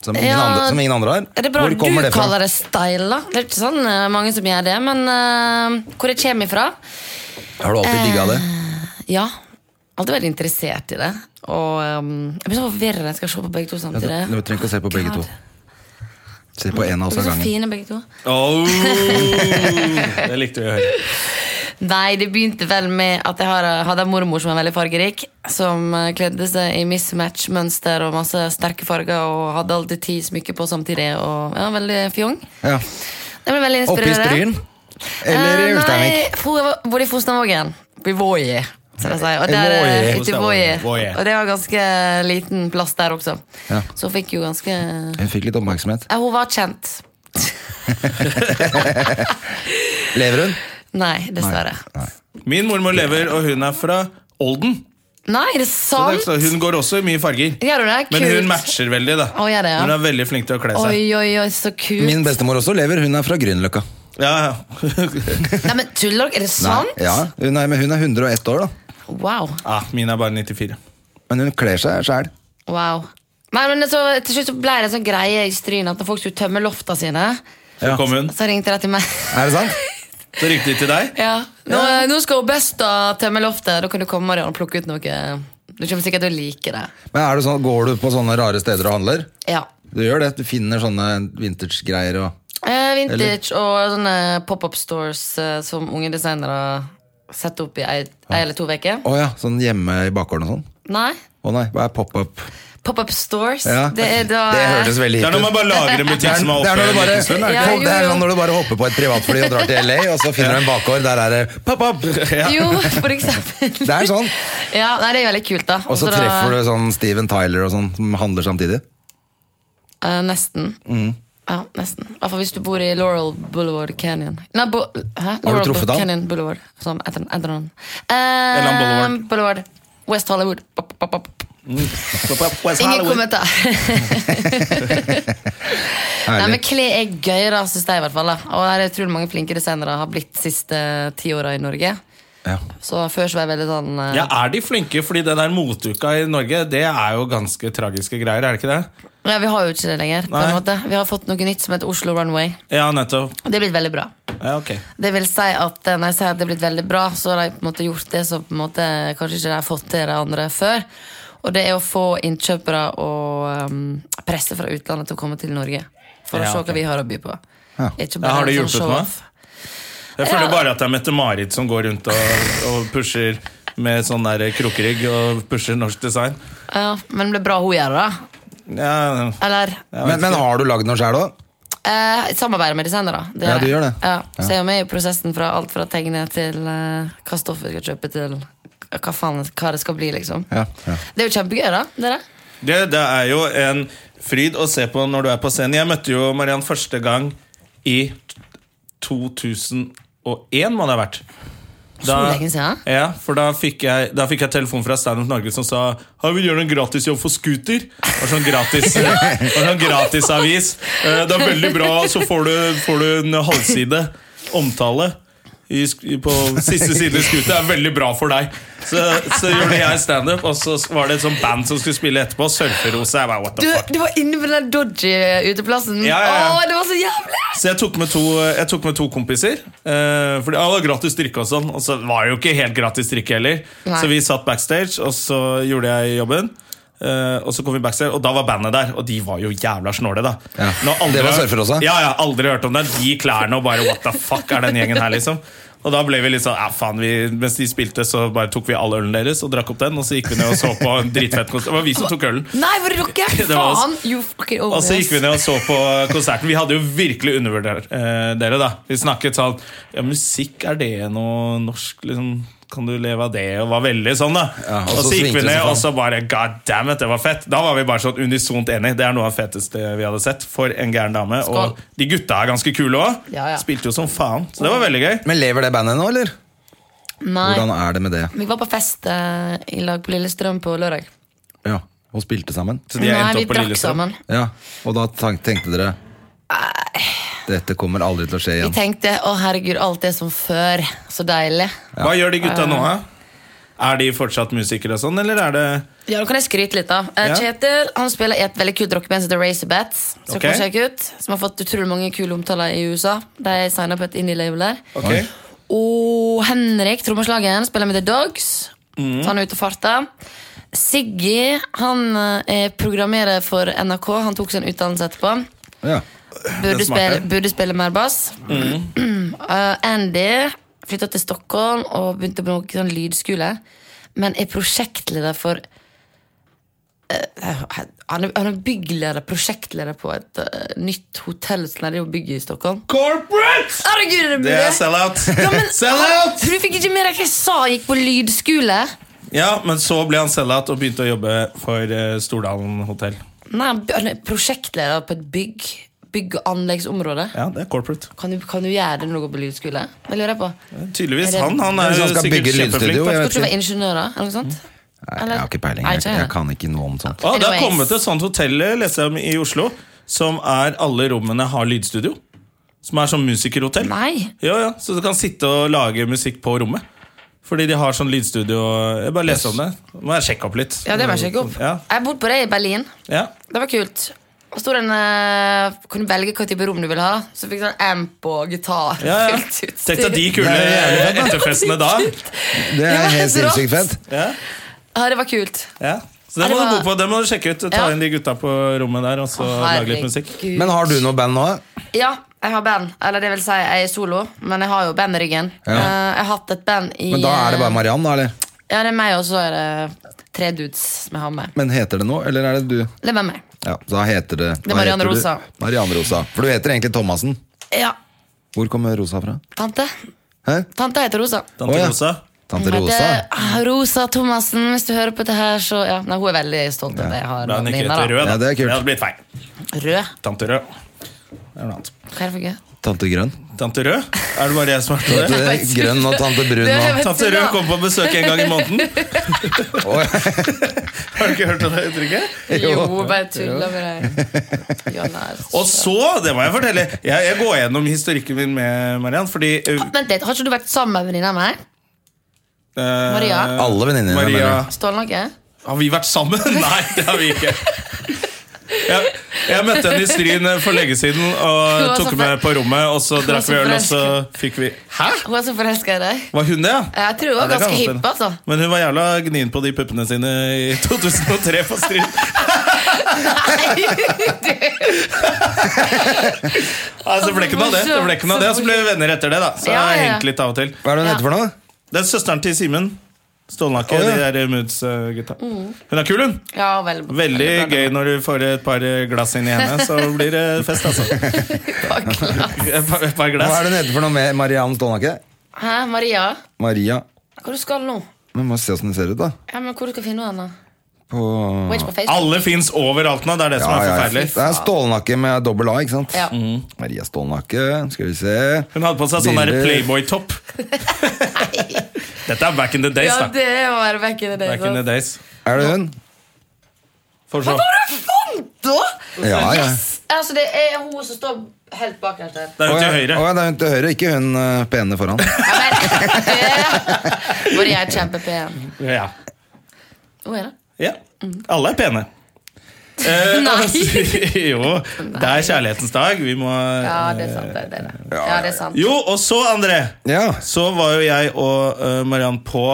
Speaker 1: som ingen,
Speaker 3: Ja,
Speaker 1: andre, som ingen andre har.
Speaker 3: Er det bra
Speaker 1: Hvor
Speaker 3: du
Speaker 1: kommer det fra?
Speaker 3: kaller det style, da? Det er ikke sånn eh, mange som gjør det. Men eh, hvor det kommer ifra?
Speaker 1: Har du alltid digga det?
Speaker 3: Eh, Ja. Alltid vært interessert i det. Og eh, jeg blir så forvirret når jeg skal se på begge to
Speaker 1: Ja,
Speaker 3: samtidig.
Speaker 1: Du du trenger ikke å se på begge to.
Speaker 3: God.
Speaker 1: Se på en av oss
Speaker 3: De
Speaker 1: av
Speaker 3: er så
Speaker 1: gangen.
Speaker 3: fine begge to.
Speaker 2: Oh, det likte vi å høre.
Speaker 3: Nei, det begynte vel med at jeg har, eh, hadde en mormor som var veldig fargerik. Som eh, kledde seg i mismatch-mønster og masse sterke farger. Og hadde alltid ti smykker på samtidig. Og ja, veldig fjong.
Speaker 1: Ja.
Speaker 3: Jeg ble veldig
Speaker 1: Oppe i
Speaker 3: inspirert.
Speaker 1: Stryn? Eller i
Speaker 3: Eh,
Speaker 1: Ulsteinvik?
Speaker 3: Nei, for, jeg var- bodde i Fosnavågen. I Voi. Som jeg sier. Og,
Speaker 1: I
Speaker 3: der, eh,
Speaker 1: Voi.
Speaker 3: ute i Voi.
Speaker 2: Voi.
Speaker 3: og det var ganske liten plass der også.
Speaker 1: Ja.
Speaker 3: Så hun fikk jo ganske
Speaker 1: Hun fikk litt oppmerksomhet.
Speaker 3: ja, Hun var kjent.
Speaker 1: Lever hun?
Speaker 3: Nei, dessverre.
Speaker 2: Min mormor lever, og hun er fra Olden.
Speaker 3: Nei, det er
Speaker 2: Så
Speaker 3: sant!
Speaker 2: det, så hun går også i mye farger.
Speaker 3: Gjør hun det?
Speaker 2: Men
Speaker 3: Kult.
Speaker 2: hun matcher veldig, da.
Speaker 3: Å, gjør det, ja.
Speaker 2: Hun er veldig flink til å kle seg.
Speaker 3: Oi, oi, oi, så kult.
Speaker 1: Min bestemor også lever. Hun er fra Grünerløkka.
Speaker 2: Ja, ja.
Speaker 3: Nei, men tuller dere? Er det sant?
Speaker 1: Nei, Ja, hun, er, men hun er 101 år, da.
Speaker 3: Wow.
Speaker 2: ah, min er bare 94.
Speaker 1: Men hun kler seg sjæl.
Speaker 3: wow. Nei, men så, Til slutt så ble det en sånn greie i Stryn at når folk skulle tømme lofta sine,
Speaker 2: Så kom hun.
Speaker 3: så ringte de til meg.
Speaker 1: Er det sant?
Speaker 2: Så ringte de til deg.
Speaker 3: Ja. Nå, nå skal hun besta tømme loftet. Da kan du komme Marianne, og plukke ut noe. Du kommer sikkert til å like det.
Speaker 1: Men er det sånn, Går du på sånne rare steder og handler?
Speaker 3: Ja.
Speaker 1: Du gjør det? Du finner sånne vintage-greier og
Speaker 3: Eh, vintage og sånne pop-up stores eh, som unge designere setter opp i ei, ei eller to uker.
Speaker 1: Å ja, sånn hjemme i bakgården og sånn?
Speaker 3: Nei.
Speaker 1: Å nei, hva er pop-up?
Speaker 3: Pop-up stores.
Speaker 1: Ja.
Speaker 3: Det er da
Speaker 1: det hørtes veldig
Speaker 2: Det er
Speaker 1: hit
Speaker 2: når
Speaker 1: ut.
Speaker 2: man bare lager en
Speaker 1: Det
Speaker 2: butikk
Speaker 1: er,
Speaker 2: som er
Speaker 1: det, er
Speaker 2: oppe
Speaker 1: når du
Speaker 2: en
Speaker 1: bare,
Speaker 2: liten stund. er det
Speaker 3: Ja,
Speaker 2: ikke?
Speaker 3: jo, jo.
Speaker 1: det er sånn når du bare hopper på et privatfly og drar til LA, og så finner du en bakgård. Der er det pop up!
Speaker 3: Jo, for eksempel.
Speaker 1: Det er sånn.
Speaker 3: Ja, nei, det er veldig kult, da.
Speaker 1: Og så
Speaker 3: da-
Speaker 1: treffer du sånn Steven Tyler og sånn, som handler samtidig.
Speaker 3: Eh, nesten.
Speaker 2: Mm.
Speaker 3: Ja, nesten. I hvert fall hvis du bor i Laurel Boulevard Canyon. Nei, bo Hæ? Laurel Bou-
Speaker 1: truffet han?
Speaker 3: Canyon Boulevard. Som etter, etter han.
Speaker 2: Eller han
Speaker 3: Eh, Boulevard. West Hollywood. Opp, opp, opp. Mm. Ingen
Speaker 2: Hollywood.
Speaker 3: kommentar. Nei, men
Speaker 1: Herlig.
Speaker 3: Kle er gøy, da, syns jeg. i hvert fall da. Og det er utrolig mange flinke designere har blitt siste ti åra i Norge.
Speaker 1: Ja.
Speaker 3: Så før så var jeg veldig sånn eh,
Speaker 2: Ja, er de flinke? Fordi det der motuka i Norge, det er jo ganske tragiske greier, er det ikke det?
Speaker 3: ja, Vi har jo ikke det lenger. på en
Speaker 2: Nei.
Speaker 3: måte. Vi har fått noe nytt som heter Oslo Runway.
Speaker 2: Ja, nettopp.
Speaker 3: Og det er blitt veldig bra.
Speaker 2: Ja, ok.
Speaker 3: Det vil si at eh, når jeg sier at det er blitt veldig bra, så har de på en måte gjort det som på en måte kanskje ikke de har fått til de andre før. Og det er å få innkjøpere og um, presse fra utlandet til å komme til Norge. For
Speaker 2: Ja,
Speaker 3: å se
Speaker 2: ok.
Speaker 3: hva vi har å by på. Ikke liksom
Speaker 2: Ja, har det
Speaker 3: en
Speaker 2: hjulpet
Speaker 3: show-off.
Speaker 2: Jeg føler
Speaker 3: Ja.
Speaker 2: bare at det er Mette-Marit som går rundt og, og pusher med sånn der krukkerygg og pusher norsk design.
Speaker 3: Ja, men det er bra hun gjør det, da.
Speaker 2: Ja,
Speaker 3: Eller
Speaker 1: Men, men har du lagd noe sjæl òg?
Speaker 3: eh, samarbeider med designere. Det
Speaker 1: Ja,
Speaker 3: gjør
Speaker 1: du
Speaker 3: jeg.
Speaker 1: gjør det.
Speaker 3: Ja, så jeg er jo med i prosessen fra alt fra tegne til eh, hva stoffet skal kjøpe, til hva faen hva det skal bli, liksom.
Speaker 1: Ja, ja.
Speaker 3: Det er jo kjempegøy, da. Dere.
Speaker 2: Det, det er jo en fryd å se på når du er på scenen. Jeg møtte jo Mariann første gang i 2001, må det ha vært.
Speaker 3: Så lenge siden.
Speaker 2: Ja, for da fikk jeg, da fikk jeg telefon fra Stand Up Norge som sa «Ha, vi gjør en gratisjobb for scooter. Og sånn gratis og sånn gratisavis. Eh, Det er veldig bra, så får du, får du en halvside omtale. I, sk- på siste side i Scooter er veldig bra for deg. Så, så gjorde jeg standup, og så var det et sånt band som skulle spille etterpå. Surferose. Jeg bare, what
Speaker 3: Du,
Speaker 2: the fuck
Speaker 3: du var inne på den dodgy uteplassen.
Speaker 2: Ja, ja, ja.
Speaker 3: Åh, det var så jævlig!
Speaker 2: Så jeg tok med to, jeg tok med to kompiser. Eh, fordi alle gratis drikke og sånn. Og så var det jo ikke helt gratis drikke heller.
Speaker 3: Nei.
Speaker 2: Så vi satt backstage, og så gjorde jeg jobben. Eh, og så kom vi backstage, og da var bandet der, og de var jo jævla snåle, da.
Speaker 1: Ja.
Speaker 2: Nå aldri-
Speaker 1: Det var surfer også?
Speaker 2: Ja, ja, aldri hørt om det. De klærne og bare what the fuck er den gjengen her, liksom. Og da ble vi litt sånn, ja faen, vi, mens de spilte, så bare tok vi all ølen deres og drakk opp den. Og så gikk vi ned og så på en dritfett konsert. Det var vi som tok ølen.
Speaker 3: Nei, var det dere?
Speaker 2: Det var oss.
Speaker 3: Faen! You fucking
Speaker 2: Og så gikk vi
Speaker 3: overrasked.
Speaker 2: ned og så på konserten. Vi hadde jo virkelig undervurdert eh, dere, da. Vi snakket sånn Ja, musikk, er det noe norsk, liksom? Kan du leve av det? Og var veldig sånn, da.
Speaker 1: Ja,
Speaker 2: og, så gikk vi
Speaker 1: svingte det
Speaker 2: ned,
Speaker 1: seg
Speaker 2: og
Speaker 1: fram.
Speaker 2: så bare God damn it, det var fett. Da var vi bare sånn unisont enig. Det er noe av det feteste vi hadde sett. For en gæren dame.
Speaker 3: Skål.
Speaker 2: Og de gutta er ganske kule òg.
Speaker 3: Ja, ja.
Speaker 2: Spilte jo som faen. Så det var veldig gøy.
Speaker 1: Men lever det bandet nå, eller? Hvordan
Speaker 3: Nei.
Speaker 1: er det med det?
Speaker 3: Vi var på fest eh, i lag på Lillestrøm på lørdag.
Speaker 1: Ja, Og spilte sammen?
Speaker 2: Så de
Speaker 3: Nei,
Speaker 2: endte
Speaker 3: vi
Speaker 2: opp på
Speaker 3: drakk
Speaker 2: Lillestrøm.
Speaker 3: sammen.
Speaker 1: Ja, Og da tenk- tenkte dere Dette kommer aldri til å skje
Speaker 3: Vi
Speaker 1: igjen.
Speaker 3: tenkte å herregud, alt er som før. Så deilig.
Speaker 2: Hva gjør de gutta nå, da? Er de fortsatt musikere og sånn, eller er det
Speaker 3: Ja, Nå kan jeg skryte litt, da. Eh,
Speaker 2: Ja.
Speaker 3: Kjetil han spiller i et veldig kult rockeband som heter Razorbats. Som,
Speaker 2: Ok.
Speaker 3: kan sjekke ut, som har fått utrolig mange kule omtaler i USA. De signa på et indie-label der.
Speaker 2: Ok.
Speaker 3: Og Henrik, trommeslageren, spiller med The Dogs. Så han er ute og farter. Siggy han eh, programmerer for NRK. Han tok sin utdannelse etterpå.
Speaker 1: Ja.
Speaker 3: Burde
Speaker 2: Den smarte.
Speaker 3: spille, burde spille mer bass. Eh, Andy flytta til Stockholm og begynte på noe sånn lydskole. Men er prosjektleder for eh, han, er, han er byggleder, prosjektleder på et eh, nytt hotell som de bygger i Stockholm.
Speaker 2: Corporate!
Speaker 3: Herregud, er det
Speaker 2: Det er
Speaker 3: mulig?
Speaker 2: sell-out.
Speaker 3: Ah,
Speaker 2: Sell-out!
Speaker 3: For du fikk ikke med deg hva jeg sa jeg gikk på lydskole?
Speaker 2: Ja, men så ble han sell-out og begynte å jobbe for eh, Stordalen hotell.
Speaker 3: Nei, han b- han er prosjektleder på et bygg. Bygg- og anleggsområde.
Speaker 2: Ja, det er corporate.
Speaker 3: Kan du, kan du gjøre det når du går på lydskole? Det lurer jeg på.
Speaker 2: Tydeligvis.
Speaker 3: Er det-
Speaker 2: Han, han er
Speaker 1: Hvis
Speaker 2: jo
Speaker 1: han skal
Speaker 2: sikkert
Speaker 1: bygge lydstudio,
Speaker 2: kjempeflink.
Speaker 1: jeg
Speaker 2: da.
Speaker 3: Skal
Speaker 1: vet
Speaker 3: ikke du
Speaker 1: ikke.
Speaker 3: være ingeniører? Eller noe sånt?
Speaker 1: Nei, Jeg har ikke peiling.
Speaker 3: Nei,
Speaker 1: Jeg,
Speaker 3: ikke jeg.
Speaker 1: jeg kan ikke noe om sånt.
Speaker 2: Å, det har
Speaker 3: Anyways.
Speaker 2: kommet et sånt hotell eh, leste jeg om, i Oslo som er alle rommene har lydstudio. Som er sånn musikerhotell.
Speaker 3: Nei.
Speaker 2: Ja, ja, Så du kan sitte og lage musikk på rommet. Fordi de har sånn lydstudio. Jeg bare leste om det. Må jeg sjekke opp litt.
Speaker 3: Ja, det må jeg sjekke opp.
Speaker 2: Ja,
Speaker 3: Jeg har bodd på det i Berlin.
Speaker 2: ja.
Speaker 3: Det var kult. Og sto den eh, Kunne velge hva type rom du ville ha. Så fikk du sånn amp og gitar.
Speaker 2: ja, ja.
Speaker 3: Fullt utstyr.
Speaker 2: Tenk deg de kule
Speaker 1: Det er
Speaker 2: etterfestene da.
Speaker 1: Det
Speaker 3: Ja,
Speaker 1: er helt
Speaker 3: det er rått.
Speaker 1: sinnssykt fett.
Speaker 2: Ja.
Speaker 3: Ja, det var kult.
Speaker 2: Ja. Så det
Speaker 3: Ja,
Speaker 2: må du
Speaker 3: det var-
Speaker 2: bo på, det må du sjekke ut. Ta
Speaker 3: Ja.
Speaker 2: inn de gutta på rommet der, og så lage litt musikk.
Speaker 3: Herregud.
Speaker 1: Men har du noe band nå?
Speaker 3: Ja, jeg har band. Eller det vil si, jeg er solo, men jeg har jo band i ryggen.
Speaker 1: Ja.
Speaker 3: Eh, jeg har hatt et band i
Speaker 1: Men da er det bare Mariann, da? eller?
Speaker 3: Ja, det er meg, og så er det tre dudes som jeg har med.
Speaker 1: Men heter det noe, eller er det du?
Speaker 3: Det er bare meg.
Speaker 1: Ja, da heter det
Speaker 3: Det er
Speaker 1: hva
Speaker 3: Mariann
Speaker 1: heter du?
Speaker 3: Rosa.
Speaker 1: Mariann Rosa. For du heter egentlig Thomassen.
Speaker 3: Ja,
Speaker 1: Hvor kommer Rosa fra?
Speaker 3: tante.
Speaker 1: Hæ?
Speaker 3: Tante heter Rosa.
Speaker 2: Tante
Speaker 1: Å, ja.
Speaker 2: Rosa.
Speaker 1: Tante
Speaker 3: Hun
Speaker 1: Rosa?
Speaker 3: heter, ah, Rosa Thomassen, hvis du hører på det her, så ja. Nei, hun er veldig stolt av det. Jeg har
Speaker 2: Da er hun
Speaker 3: noen
Speaker 2: ikke
Speaker 3: venner,
Speaker 2: heter
Speaker 3: da.
Speaker 2: Rød, da.
Speaker 1: Ja, det er kult.
Speaker 2: hadde blitt feil.
Speaker 3: Rød.
Speaker 2: Tante Rød. Det er noe annet.
Speaker 3: Hva er det for gøy?
Speaker 1: Tante Grønn?
Speaker 2: Tante Rød? Er det bare jeg som har hørt om det?
Speaker 1: Tante Grønn og tante Brun
Speaker 3: Det
Speaker 1: og
Speaker 3: vet-
Speaker 2: Tante Rød kommer på besøk en gang i måneden.
Speaker 1: Å,
Speaker 2: Har du ikke hørt om det uttrykket?
Speaker 3: Jo, bare tuller med deg. Jonna er så-
Speaker 2: Og så, det må jeg fortelle, jeg, jeg går gjennom historikken min med Mariann, fordi uh,
Speaker 3: Vent litt, har ikke du vært sammen med venninna mi? Maria?
Speaker 1: Alle venninnene mine.
Speaker 2: Maria
Speaker 1: mener du?
Speaker 3: Ståle noe?
Speaker 2: Har vi vært sammen? Nei, det har vi ikke. Jeg, jeg møtte henne i Stryn for lenge siden
Speaker 3: Hun
Speaker 2: og
Speaker 3: var
Speaker 2: tok
Speaker 3: så
Speaker 2: med
Speaker 3: forel-
Speaker 2: på rommet. Og så
Speaker 3: Hun var
Speaker 2: drakk
Speaker 3: så
Speaker 2: vi øl, og så
Speaker 3: forelsket.
Speaker 2: fikk vi Hæ?
Speaker 3: Hun er så forelska i deg.
Speaker 2: Var hun det, ja?
Speaker 3: Jeg tror hun
Speaker 2: Ja, det
Speaker 3: var
Speaker 2: kan
Speaker 3: ganske
Speaker 2: godt
Speaker 3: hipp,
Speaker 2: hende.
Speaker 3: altså.
Speaker 2: Men hun var jævla gnien på de puppene sine i 2003 på Stryn.
Speaker 3: Nei, du
Speaker 2: Nei, så ble ikke noe av Altså, det. det, ble ikke noe av det. Og så ble vi venner etter det, da. Så jeg
Speaker 3: Ja,
Speaker 2: har
Speaker 3: ja.
Speaker 2: hengt litt av og til.
Speaker 1: Hva er det hun
Speaker 3: Ja.
Speaker 1: heter for noe?
Speaker 2: Det er søsteren til Simen. Stålnakke.
Speaker 1: Å, ja.
Speaker 2: De der Moods-gutta.
Speaker 3: Mm.
Speaker 2: Hun er kul, hun.
Speaker 3: Ja, vel,
Speaker 2: Veldig
Speaker 3: bra,
Speaker 2: gøy når du får et par glass inn i henne, så blir det fest, altså. Et par, et par
Speaker 1: Hva er
Speaker 2: glass.
Speaker 1: det hun heter for noe med Marianne Stålnakke?
Speaker 3: Hæ, Maria?
Speaker 1: Maria.
Speaker 3: Hvor du skal nå?
Speaker 1: Vi må se åssen hun ser ut, da.
Speaker 3: Ja, men Hvor du skal finne henne?
Speaker 1: På
Speaker 3: Hun er ikke på Facebook.
Speaker 2: Alle fins overalt nå, det er det som er
Speaker 1: Ja, ja, ja. Det
Speaker 2: forferdelig.
Speaker 1: er Stålnakke med dobbel A, ikke sant?
Speaker 3: Ja.
Speaker 2: Mm.
Speaker 1: Maria Stålnakke, skal vi se
Speaker 2: Hun hadde på seg sånn der
Speaker 1: Bilder.
Speaker 2: Playboy-topp. Dette er back in the days,
Speaker 3: Ja,
Speaker 2: da.
Speaker 3: det liksom. er å være back in the
Speaker 2: Back in the
Speaker 3: day.
Speaker 2: days.
Speaker 1: Er det hun?
Speaker 2: Får se.
Speaker 3: Da?
Speaker 1: Ja, ja.
Speaker 3: Yes! Altså, det er hun som står helt bakerst der.
Speaker 2: Det er hun
Speaker 1: Å,
Speaker 2: til
Speaker 1: ja.
Speaker 2: høyre.
Speaker 1: Å, ja, det er hun til høyre, ikke hun eh, pene foran.
Speaker 3: Ja, men, det- Maria er kjempepen.
Speaker 2: Ja.
Speaker 3: Hun er det.
Speaker 2: ja. Alle er pene. Eh,
Speaker 3: Nei.
Speaker 2: jo, det er kjærlighetens dag. Vi må
Speaker 3: Ja, det er sant. Det er det. Ja, det er sant.
Speaker 2: Jo, og så, André,
Speaker 1: Ja.
Speaker 2: så var jo jeg og eh, Mariann på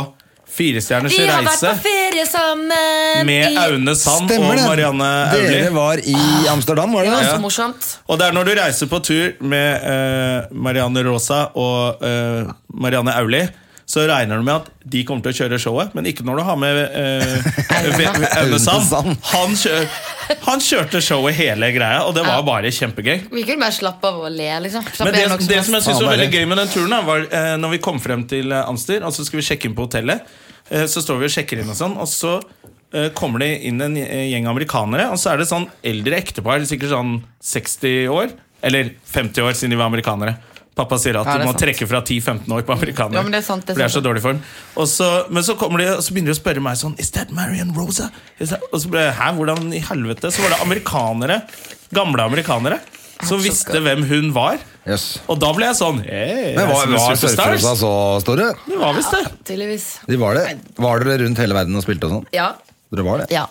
Speaker 2: Firestjerners
Speaker 3: Vi har vært
Speaker 2: reise
Speaker 3: på ferie sammen!
Speaker 2: med
Speaker 3: i-
Speaker 2: Aune Sand
Speaker 1: Stemmer
Speaker 2: og
Speaker 1: det.
Speaker 2: Marianne Aulie.
Speaker 1: Dere var i Amsterdam, var
Speaker 3: Det
Speaker 1: det
Speaker 3: var
Speaker 1: det?
Speaker 3: så morsomt.
Speaker 2: Og det er når du reiser på tur med eh, Marianne Rosa og eh, Marianne Auli, så regner du med at de kommer til å kjøre showet, men ikke når du har med uh, Aune Sand.
Speaker 1: Sand.
Speaker 2: Han, kjør, han kjørte showet hele greia, og det var bare kjempegøy.
Speaker 3: Vi kunne bare slappe av og le, liksom. Slappe
Speaker 2: Men det,
Speaker 3: av nok
Speaker 2: det som jeg synes
Speaker 1: Faen,
Speaker 2: var
Speaker 1: det er
Speaker 2: veldig gøy med den turen, da, var eh, når vi kom frem til eh, Amster, og så skal vi sjekke inn på hotellet. Eh, så står vi og sjekker inn, og sånn Og så eh, kommer det inn en eh, gjeng amerikanere, og så er det sånn eldre ektepar, sikkert sånn 60 år, eller 50 år siden de var amerikanere. Pappa sier at
Speaker 3: Ja, det
Speaker 2: du
Speaker 3: er
Speaker 2: må
Speaker 3: sant.
Speaker 2: trekke fra 10-15 år på amerikanere.
Speaker 3: Ja, men det er sant, det er
Speaker 2: for de er
Speaker 3: sant.
Speaker 2: så dårlig form. Og så, men så kommer de og så begynner de å spørre meg sånn Is that Marian Rosa? Is that? Og så ble jeg, hæ, hvordan i helvete? Så var det amerikanere, gamle amerikanere, som visste hvem hun var.
Speaker 1: Yes.
Speaker 2: Og da ble jeg sånn hey,
Speaker 1: Men var,
Speaker 2: jeg er
Speaker 1: var
Speaker 2: superstars.
Speaker 1: surferosa så store?
Speaker 2: Det var visst det.
Speaker 3: Tydeligvis.
Speaker 1: De var det. Var dere rundt hele verden og spilte og sånn?
Speaker 3: Ja.
Speaker 1: Dere var det?
Speaker 3: ja.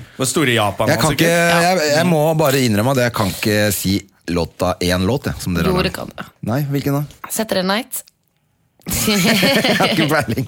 Speaker 2: Det var store Japan.
Speaker 1: Jeg, kan
Speaker 2: altså,
Speaker 1: ikke,
Speaker 2: ikke?
Speaker 1: jeg, jeg må bare innrømme at jeg kan ikke si låta én låt, jeg, som dere
Speaker 3: Jo,
Speaker 1: har
Speaker 3: det
Speaker 1: lagd.
Speaker 3: kan du.
Speaker 1: Nei, hvilken da?
Speaker 3: Setter en night.
Speaker 1: Jeg har ikke peiling.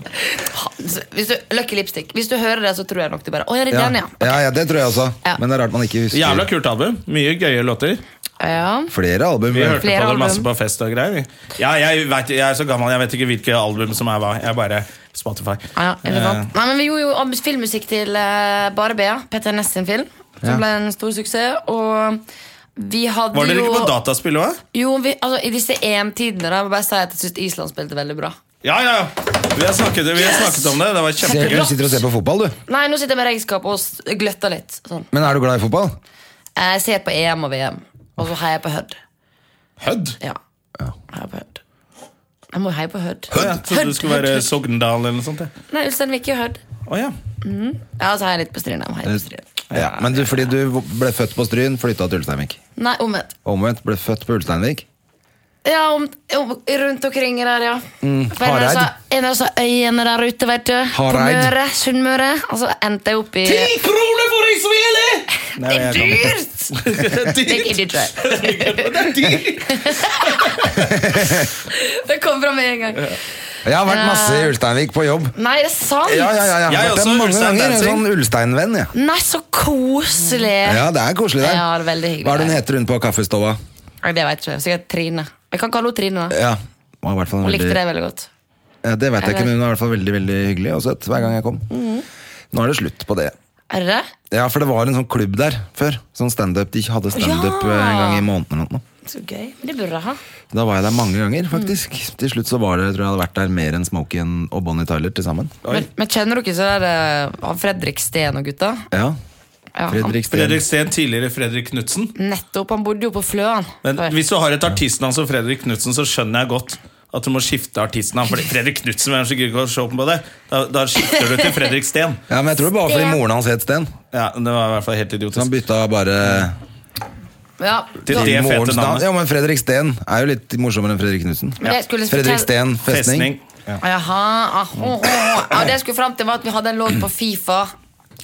Speaker 3: Hvis du, Lucky Lipstick. Hvis du hører det, så tror jeg nok du bare Å, ja, det er
Speaker 1: Ja.
Speaker 3: den, ja.
Speaker 1: Ja, ja, det tror jeg også.
Speaker 3: Ja.
Speaker 1: Men det er rart man ikke husker
Speaker 2: Jævla kult album. Mye gøye låter.
Speaker 3: ja.
Speaker 1: flere album.
Speaker 2: Vi hørte
Speaker 3: Flere
Speaker 2: på det
Speaker 3: album.
Speaker 2: masse på fest og greier. vi. Ja, jeg, vet, jeg er så gammel, jeg vet ikke hvilke album som er hva. Jeg er bare Spotify.
Speaker 3: Ah, Ja, ja, eller sant?
Speaker 2: Eh,
Speaker 3: Nei, men Vi gjorde jo ab- filmmusikk til eh, Bare Bea, Petter Ness sin film, som
Speaker 1: Ja.
Speaker 3: ble en stor suksess. Og vi hadde
Speaker 2: var dere
Speaker 3: jo
Speaker 2: ikke på dataspill òg?
Speaker 3: Jo, vi, altså, I disse EM-tidene da, jeg må bare si at jeg syns Island spilte veldig bra.
Speaker 2: Ja, ja, ja. Vi har snakket, vi har snakket om det. Det var
Speaker 1: Ser du
Speaker 2: kjempegøy.
Speaker 1: sitter og ser på fotball, du.
Speaker 3: Nei, nå sitter jeg med regnskap og s- gløtter litt. Sånn.
Speaker 1: Men er du glad i fotball?
Speaker 3: Jeg ser på EM og VM, og så heier jeg på Hødd.
Speaker 2: Hødd.
Speaker 3: Ja. Heier på Hødd. Jeg må jo heie på Hødd.
Speaker 2: Ja, jeg trodde
Speaker 3: Hødd,
Speaker 2: du skulle være
Speaker 3: Hødd,
Speaker 2: Sogndal eller noe sånt. Ja.
Speaker 3: Hødd. Nei, Ulsteinvik og Hødd.
Speaker 2: Å, ja.
Speaker 3: Ja, så heier jeg litt på Stryn. jeg må heie på Stryn.
Speaker 1: Ja, men du, fordi du ble født på Stryn, flytta til Ulsteinvik.
Speaker 3: Nei, omvendt.
Speaker 1: Omvendt, ble født på Ulsteinvik.
Speaker 3: Ja, om, om, rundt omkring der, ja. For en av
Speaker 1: Mm. Hareid.
Speaker 3: disse- En av disse øyene der ute, vet du. På
Speaker 1: Hareid.
Speaker 3: Møre. Sunnmøre. Og så endte jeg opp i Det
Speaker 2: kroner for ei svele! Nei,
Speaker 3: er
Speaker 2: jeg kan-
Speaker 3: dyrt! Det gidder ikke jeg.
Speaker 2: Det er dyrt!
Speaker 3: Det kom fra med en gang.
Speaker 1: Jeg har vært masse i Ulsteinvik på jobb.
Speaker 3: Nei, det er sant?
Speaker 1: Ja, ja, ja, jeg
Speaker 2: Jeg er
Speaker 1: har vært
Speaker 2: også
Speaker 1: der mange
Speaker 2: Ulstein
Speaker 1: ganger. En
Speaker 2: Dancing.
Speaker 1: sånn Ulstein-venn, ja.
Speaker 3: Nei, så koselig.
Speaker 1: ja. Det er koselig, det.
Speaker 3: Ja, det er veldig hyggelig.
Speaker 1: Hva er det hun heter hun på kaffestova?
Speaker 3: Nei, Det vet jeg ikke. Sikkert Trine. Jeg kan kalle henne Trine. da
Speaker 1: Ja. Hun har i hvert fall en
Speaker 3: Hun likte
Speaker 1: veldig,
Speaker 3: det veldig godt.
Speaker 1: ja, det vet jeg ikke,
Speaker 3: Eller-
Speaker 1: men hun er i hvert fall veldig veldig hyggelig og søt hver gang jeg kom.
Speaker 3: Mm.
Speaker 1: Nå er det slutt på det.
Speaker 3: Er det det?
Speaker 1: Ja, for det var en sånn klubb der før. Sånn standup. De hadde standup
Speaker 3: Ja.
Speaker 1: eh, en gang i måneden eller noe.
Speaker 3: Så gøy. Men Det burde jeg ha.
Speaker 1: Da var jeg der mange
Speaker 3: Mm.
Speaker 1: ganger, faktisk. Til slutt så var det, tror jeg hadde vært der mer enn Smokey og Bonnie Tyler til sammen.
Speaker 3: Men, men kjenner dere ikke så der eh, han Fredrik Steen og gutta?
Speaker 1: Ja.
Speaker 3: Ja, han,
Speaker 1: Fredrik Steen.
Speaker 2: Fredrik Steen, tidligere Fredrik Knutsen.
Speaker 3: nettopp. Han bodde jo på Fløen.
Speaker 2: Men
Speaker 3: før.
Speaker 2: hvis du har et artistnavn som Fredrik Knutsen, så skjønner jeg godt at du må skifte artistnavn. Fordi Fredrik Knutsen, hvem som gidder ikke å se på det? Da, da skifter du til Fredrik Steen.
Speaker 1: Ja, men jeg tror det bare fordi moren hans het Sten.
Speaker 2: Ja, Det var i hvert fall helt
Speaker 1: Så han
Speaker 2: idiotisk.
Speaker 1: bytta bare
Speaker 3: ja,
Speaker 2: Til
Speaker 3: da-
Speaker 2: det fete
Speaker 1: morens navn.
Speaker 2: navnet.
Speaker 1: Ja, men Fredrik Steen er jo litt morsommere enn Fredrik Knutsen.
Speaker 3: Men jeg skulle
Speaker 1: Fredrik
Speaker 3: fortelle-
Speaker 1: Steen,
Speaker 2: Festning.
Speaker 1: festning.
Speaker 3: Jaha, ah, ho, ho, ho. Ja, det jeg skulle fram til var at Vi hadde en lån på Fifa.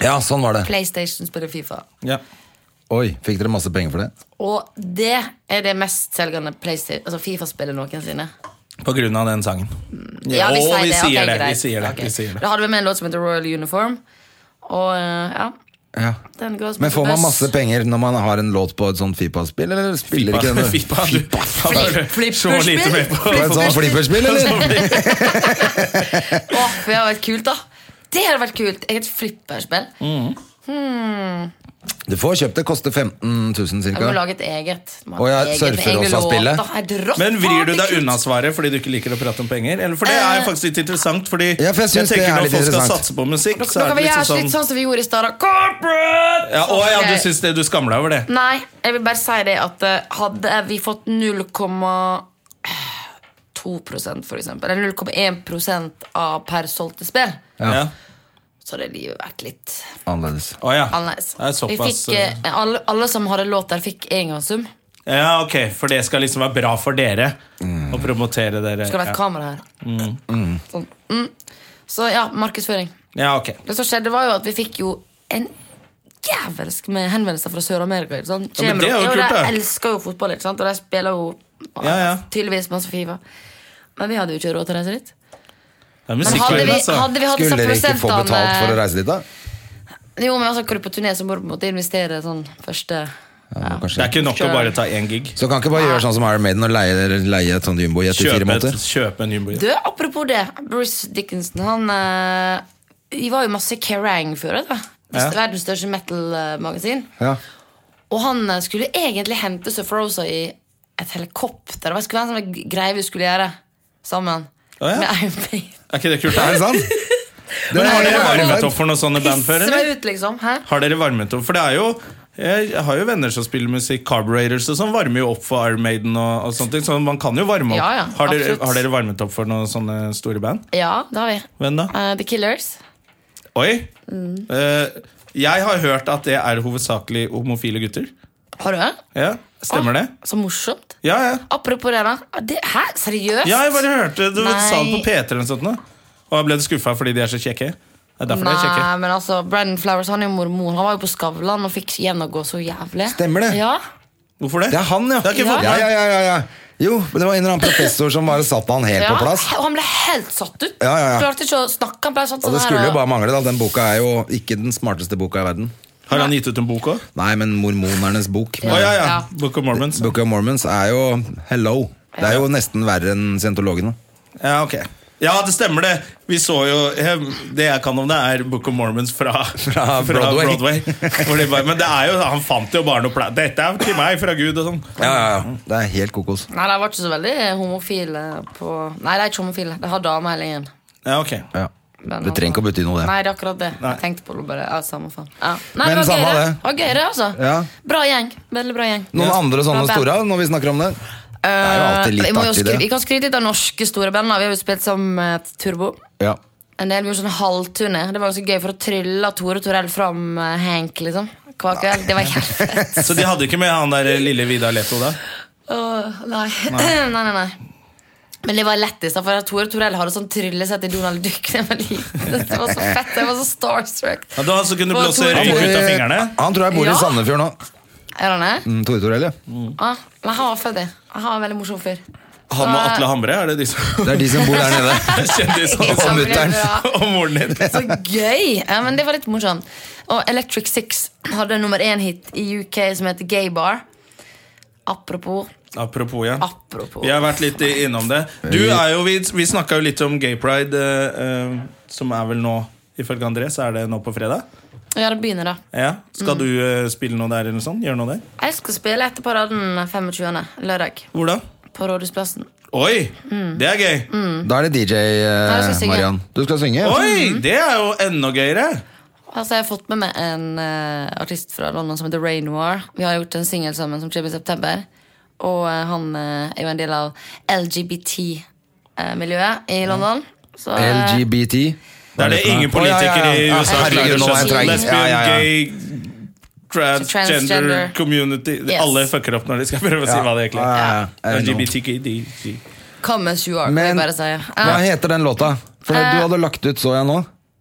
Speaker 1: Ja, sånn var det.
Speaker 3: PlayStation spiller Fifa.
Speaker 2: Ja.
Speaker 1: Oi, fikk dere masse penger for det?
Speaker 3: Og det er det mestselgende PlayStation- altså Fifa-spillet noensinne.
Speaker 2: På grunn av den sangen.
Speaker 3: Ja, vi
Speaker 2: Å,
Speaker 3: sier det.
Speaker 2: vi
Speaker 3: ok,
Speaker 2: sier det.
Speaker 3: greit.
Speaker 2: Vi sier det.
Speaker 3: Ok.
Speaker 2: Vi sier det.
Speaker 3: Da hadde vi med en låt som heter Royal Uniform. Og eh, ja
Speaker 1: Ja.
Speaker 3: Den goes
Speaker 1: Men
Speaker 3: with the
Speaker 1: får man
Speaker 3: bus.
Speaker 1: masse penger når man har en låt på et sånt Fipa-spill, eller spiller ikke den?
Speaker 2: Fipa, du-
Speaker 3: Flip-
Speaker 2: Så lite med på-
Speaker 1: På et sånt flipperspill, eller?
Speaker 3: Åh, det hadde vært kult, da. Det hadde vært kult. Jeg et flipperspill.
Speaker 2: Mm.
Speaker 1: Du får kjøpt det, koster 15 000
Speaker 3: Jeg må
Speaker 1: cirka.
Speaker 3: lage et eget. Må
Speaker 1: Å
Speaker 3: ha
Speaker 1: ja,
Speaker 3: et eget med egne
Speaker 1: Surferåsa-spillet.
Speaker 3: låter. Helt rått.
Speaker 2: Men
Speaker 3: Å, Eh.
Speaker 2: vrir du
Speaker 3: det er
Speaker 2: deg
Speaker 3: kult.
Speaker 2: unna svaret fordi du ikke liker å prate om penger? Eller, for det er jo faktisk litt interessant. Fordi
Speaker 1: Ja, for jeg synes det
Speaker 2: tenker
Speaker 1: er
Speaker 2: Når
Speaker 1: litt
Speaker 2: folk skal
Speaker 1: interessant.
Speaker 2: satse på musikk, så
Speaker 3: Nå
Speaker 2: er
Speaker 3: kan vi
Speaker 2: det
Speaker 3: gjøre
Speaker 2: liksom
Speaker 3: litt
Speaker 2: sånn
Speaker 3: sånn som vi gjorde i stad. da. Corporate!
Speaker 2: ja, Å ja,
Speaker 3: Ok.
Speaker 2: du syns det? Du skammer deg over det?
Speaker 3: Nei, jeg vil bare si det at eh, hadde vi fått 0,2 for eksempel, eller 0,1 av per solgte spill,
Speaker 2: Ja.
Speaker 3: så hadde livet vært litt
Speaker 1: Annerledes.
Speaker 2: Å ja.
Speaker 3: annerledes.
Speaker 2: Det er
Speaker 3: Vi
Speaker 2: såpass
Speaker 3: fikk, eh, alle, alle som hadde låt der, fikk engangssum. Det
Speaker 2: Ja, ok, for det skal liksom være bra for dere. Å promotere dere.
Speaker 3: skulle vært
Speaker 2: ja.
Speaker 3: kamera her. Sånn. Mm. Så ja, markedsføring.
Speaker 2: ja, ok
Speaker 3: Det som skjedde, var jo at vi fikk jo en jævelsk med henvendelser fra Sør-Amerika. ikke sant?
Speaker 2: Ja, men det er jo
Speaker 3: Kommer-
Speaker 2: kult, det.
Speaker 3: De elsker jo fotball, ikke sant? og de spiller jo
Speaker 2: Ja, ja.
Speaker 3: tydeligvis masse Fifa. Men vi hadde jo ikke råd til å reise dit.
Speaker 2: Det er
Speaker 3: Men hadde vi,
Speaker 2: musikkverden, altså.
Speaker 3: hadde vi hatt
Speaker 1: Skulle
Speaker 3: disse
Speaker 1: dere ikke få betalt for å
Speaker 3: prosentene
Speaker 1: reise dit, da?
Speaker 3: Jo, men altså, Går du på turné, så må du på en måte investere sånn første ja.
Speaker 2: Det er
Speaker 1: Kanskje.
Speaker 2: ikke nok å bare ta én gig.
Speaker 1: Så kan ikke bare gjøre sånn som Iron Maiden og leie, leie et sånt jumbo i etter fire
Speaker 2: Kjøpe, et-
Speaker 1: måneder?
Speaker 2: kjøpe en jumbo.
Speaker 3: Du, apropos det. Bruce Dickinson, han eh, Vi var jo masse Kerrang før. da
Speaker 2: Ja.
Speaker 3: Verdens største metal-magasin.
Speaker 1: Ja.
Speaker 3: Og han eh, skulle egentlig hente Surfer Rosa i et helikopter. Det skulle være en sånn greie vi skulle gjøre sammen.
Speaker 2: Å, ja.
Speaker 3: Med Iron Maiden.
Speaker 2: Er ikke det kult?
Speaker 1: Er
Speaker 2: Det
Speaker 1: det sant? Det
Speaker 2: har dere
Speaker 1: er
Speaker 2: varmet
Speaker 1: jævlig
Speaker 2: opp for noen sånne band før,
Speaker 3: Pisse meg
Speaker 2: eller?
Speaker 3: ut, liksom. Hæ?
Speaker 2: Har dere varmet opp? For det er jo jeg har jo venner som spiller musikk, Carburators og sånn, varmer jo opp for Iron Maiden og, og sånne ting. Så man kan jo varme opp.
Speaker 3: Ja, ja,
Speaker 2: har, dere,
Speaker 3: absolutt.
Speaker 2: har dere varmet opp for noen sånne store band?
Speaker 3: Ja, det har vi.
Speaker 2: Hvem da?
Speaker 3: Eh, The Killers.
Speaker 2: Oi! Eh, jeg har hørt at det er hovedsakelig homofile gutter.
Speaker 3: Har du det? Ah,
Speaker 2: Ja, Stemmer det?
Speaker 3: Så morsomt.
Speaker 2: Ja, ja.
Speaker 3: Apropos det, da. Ah, Det, hæ? Seriøst?
Speaker 2: ja jeg bare hørte Du
Speaker 3: Nei.
Speaker 2: sa det på P3 eller noe sånt. nå. Og jeg ble skuffa fordi de er så kjekke. Det er derfor de er kjekke.
Speaker 3: Nei, men altså, Brandon Flowers han er jo mormon. Han var jo på Skavlan og fikk gjennomgå så jævlig.
Speaker 1: Stemmer det.
Speaker 3: Ja,
Speaker 2: Hvorfor det?
Speaker 1: Det er han, ja!
Speaker 2: Det har jeg ikke fått
Speaker 1: ja,
Speaker 2: med.
Speaker 1: ja, ja, ja, ja. Jo, men det var en eller annen professor som bare satte han helt
Speaker 3: ja.
Speaker 1: på plass.
Speaker 3: Og han ble helt satt ut.
Speaker 1: Ja, ja, ja.
Speaker 3: Klarte ikke å snakke. Han ble sånn
Speaker 1: Og
Speaker 3: sånn
Speaker 1: det skulle
Speaker 3: her,
Speaker 1: jo bare mangle, da. Den boka er jo ikke den smarteste boka i verden.
Speaker 2: Har han gitt ut en bok òg?
Speaker 1: Nei, men mormonernes bok.
Speaker 2: Å ja, ja.
Speaker 3: Ja.
Speaker 2: Book of Mormons.
Speaker 1: Book of Mormons er jo hello. Det er jo nesten verre enn scientologene.
Speaker 2: Ja, ok ja, det stemmer det. Vi så jo jeg, Det jeg kan om det, er Book of Mormons fra,
Speaker 1: Fra Broadway.
Speaker 2: Hvor de bare, men det er jo, han fant jo bare noe pla- Dette er til meg fra Gud og sånn.
Speaker 1: Ja, ja, ja. Det er helt kokos.
Speaker 3: Nei, de var ikke så veldig homofile på Nei, de er ikke homofile. De har dame hele gjengen.
Speaker 2: Ja, ok
Speaker 1: Ja.
Speaker 3: Men
Speaker 1: Det trenger ikke å bety noe, det.
Speaker 3: Nei, det er akkurat det.
Speaker 2: Nei.
Speaker 3: Jeg tenkte på det bare. Ja, samme faen. Ja. Nei,
Speaker 1: Men
Speaker 3: det var
Speaker 1: samme
Speaker 3: gøy, det.
Speaker 1: det.
Speaker 3: Det var gøy, det, altså.
Speaker 1: Ja.
Speaker 3: Bra gjeng. Veldig bra gjeng.
Speaker 1: Noen andre sånne
Speaker 3: Bra band.
Speaker 1: store når vi snakker om det? Det er jo alltid
Speaker 3: Eh, vi
Speaker 1: litt
Speaker 3: må jo
Speaker 1: artig,
Speaker 3: skry- Vi
Speaker 1: det.
Speaker 3: kan skryte litt av norske store band. da. Vi har jo spilt som eh, Turbo.
Speaker 1: Ja.
Speaker 3: En del vi gjorde sånn halvturné. Det var ganske gøy for å trylle Tore Torell fram eh, Hank, liksom. Hver kveld. Det var helt fett.
Speaker 2: Så de hadde ikke med han der lille Vidar Leto da?
Speaker 3: Åh, nei. nei, nei, nei. Men det var lættis, da, for Tore Torell hadde sånn tryllesett i Donald Duck da jeg var liten. Det var så fett. Jeg var så starstruck.
Speaker 2: Ja, da altså kunne du
Speaker 3: Og
Speaker 2: blåse
Speaker 3: Tore-
Speaker 2: røyk ut av fingrene?
Speaker 1: Han tror jeg bor i
Speaker 3: Ja.
Speaker 1: Sandefjord nå.
Speaker 3: Er han det?
Speaker 1: Mm, Tore Torell, ja.
Speaker 3: Ah, men han var født, Han var en veldig morsom fyr.
Speaker 2: Han og Atle Hamre, er det de som
Speaker 1: Det er de som bor der nede.
Speaker 2: kjendisene
Speaker 1: Og
Speaker 2: som-
Speaker 1: mutter'n.
Speaker 3: Ja.
Speaker 2: og moren din?
Speaker 3: Så gøy! Ja, men Det var litt morsomt. Og Electric Six hadde en nummer én-hit i UK som heter Gay Bar. Apropos.
Speaker 2: Apropos, ja.
Speaker 3: Apropos.
Speaker 2: Vi har vært litt innom det. Du er jo, Vi, vi snakka jo litt om Gay Pride, eh, eh, som er vel nå Ifølge André så er det nå på fredag.
Speaker 3: Ja, det begynner, da.
Speaker 2: Ja. Skal
Speaker 3: Mm.
Speaker 2: du eh, spille noe der? eller noe sånt? Gjøre noe der?
Speaker 3: Jeg skal spille etter paraden 25. lørdag
Speaker 2: Hvor da?
Speaker 3: på Rådhusplassen.
Speaker 2: Oi! Det er gøy!
Speaker 3: Mm.
Speaker 1: Da er det DJ, eh,
Speaker 3: jeg skal synge.
Speaker 1: Mariann. Du skal synge? ja.
Speaker 2: Oi! Det er jo enda gøyere!
Speaker 3: Altså, jeg har fått med meg en eh, artist fra London som heter Ray Noir. Vi har gjort en singel sammen som kommer i september. Og eh, han eh, er jo en del av LGBT-miljøet eh, i London. Så, eh,
Speaker 1: LGBT.
Speaker 2: Det er det ingen politikere i USA
Speaker 1: Herregud, nå er jeg
Speaker 2: klarer
Speaker 1: treig.
Speaker 2: seg.
Speaker 1: Ja, ja,
Speaker 2: Lesbian,
Speaker 1: ja.
Speaker 2: gay, transgender
Speaker 3: Transgender.
Speaker 2: community
Speaker 3: Yes.
Speaker 2: Alle fucker opp når de skal prøve å si hva det egentlig er.
Speaker 1: Ja, ja, ja.
Speaker 2: LGBTQD.
Speaker 3: Come as you are,
Speaker 1: Men-
Speaker 3: vil jeg bare si. Ja. Eh.
Speaker 1: Hva heter den låta? For du hadde lagt ut, så jeg nå.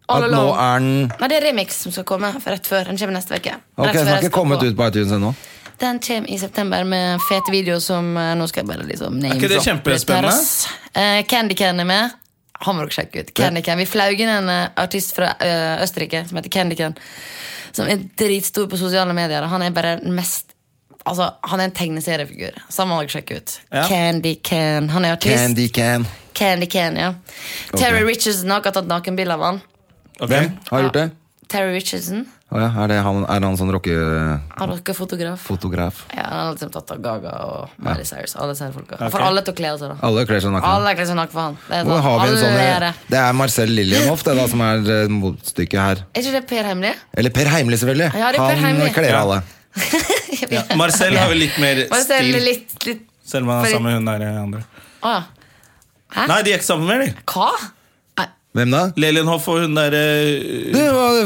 Speaker 1: At
Speaker 3: All
Speaker 1: nå
Speaker 3: Alone.
Speaker 1: er den
Speaker 3: Nei, det er remix som skal komme for rett før. Den kommer neste uke.
Speaker 1: Ok, Den har
Speaker 3: Rett før jeg
Speaker 1: ikke
Speaker 3: skal
Speaker 1: kommet
Speaker 3: på.
Speaker 1: ut på iTunes ennå.
Speaker 3: Den kommer i september med fet video som eh, Nå skal jeg bare liksom name
Speaker 2: ikke det
Speaker 3: drop
Speaker 2: kjempespennende?
Speaker 3: litt her, ass. Eh, Candy Can er med. Han må dere sjekke ut. Candy Can. Vi flaug inn en eh, artist fra eh, Østerrike som heter Candy Can. som er dritstor på sosiale medier. og Han er bare den mest Altså, han er en tegneseriefigur. Så han må dere sjekke ut.
Speaker 2: Ja.
Speaker 3: Candy Can. Han er artist. Candy,
Speaker 1: Candy Can.
Speaker 3: Can, ja. Terry Richardson har akkurat tatt nakenbilde av han.
Speaker 2: Ok.
Speaker 1: Hvem har gjort det?
Speaker 3: Terry Richardson.
Speaker 1: Å ja, er, det han, er han sånn rockefotograf?
Speaker 3: Har dere fotograf? Ja, han har liksom tatt av Gaga og Miley Cyrus. Alle disse her folka.
Speaker 2: Ok.
Speaker 3: For alle til å kle seg, da.
Speaker 1: Alle kler seg nakne.
Speaker 3: Alle er kle seg naken for han. Det er,
Speaker 1: Hvor
Speaker 3: sånn,
Speaker 1: har vi en
Speaker 2: eh,
Speaker 3: alle
Speaker 1: sånn
Speaker 3: er det.
Speaker 1: Det er Marcel Lillienhoff det da, som er eh, motstykket her.
Speaker 3: Er ikke det Per Hemmelig?
Speaker 1: Eller Per Heimli, selvfølgelig.
Speaker 3: Ja, det er Per
Speaker 1: han
Speaker 3: Heimli.
Speaker 2: Ja.
Speaker 1: kler alle.
Speaker 2: Ja. Marcel har vel litt mer
Speaker 3: Bare se
Speaker 2: stil,
Speaker 3: litt, litt
Speaker 2: selv om han er
Speaker 3: for-
Speaker 2: sammen med hun der eh, andre.
Speaker 3: Å ja. Hæ?
Speaker 2: Nei, de er ikke sammen mer, de.
Speaker 3: Hva?
Speaker 1: Hvem da?
Speaker 2: Lelienhoff og hun der eh,
Speaker 1: Du,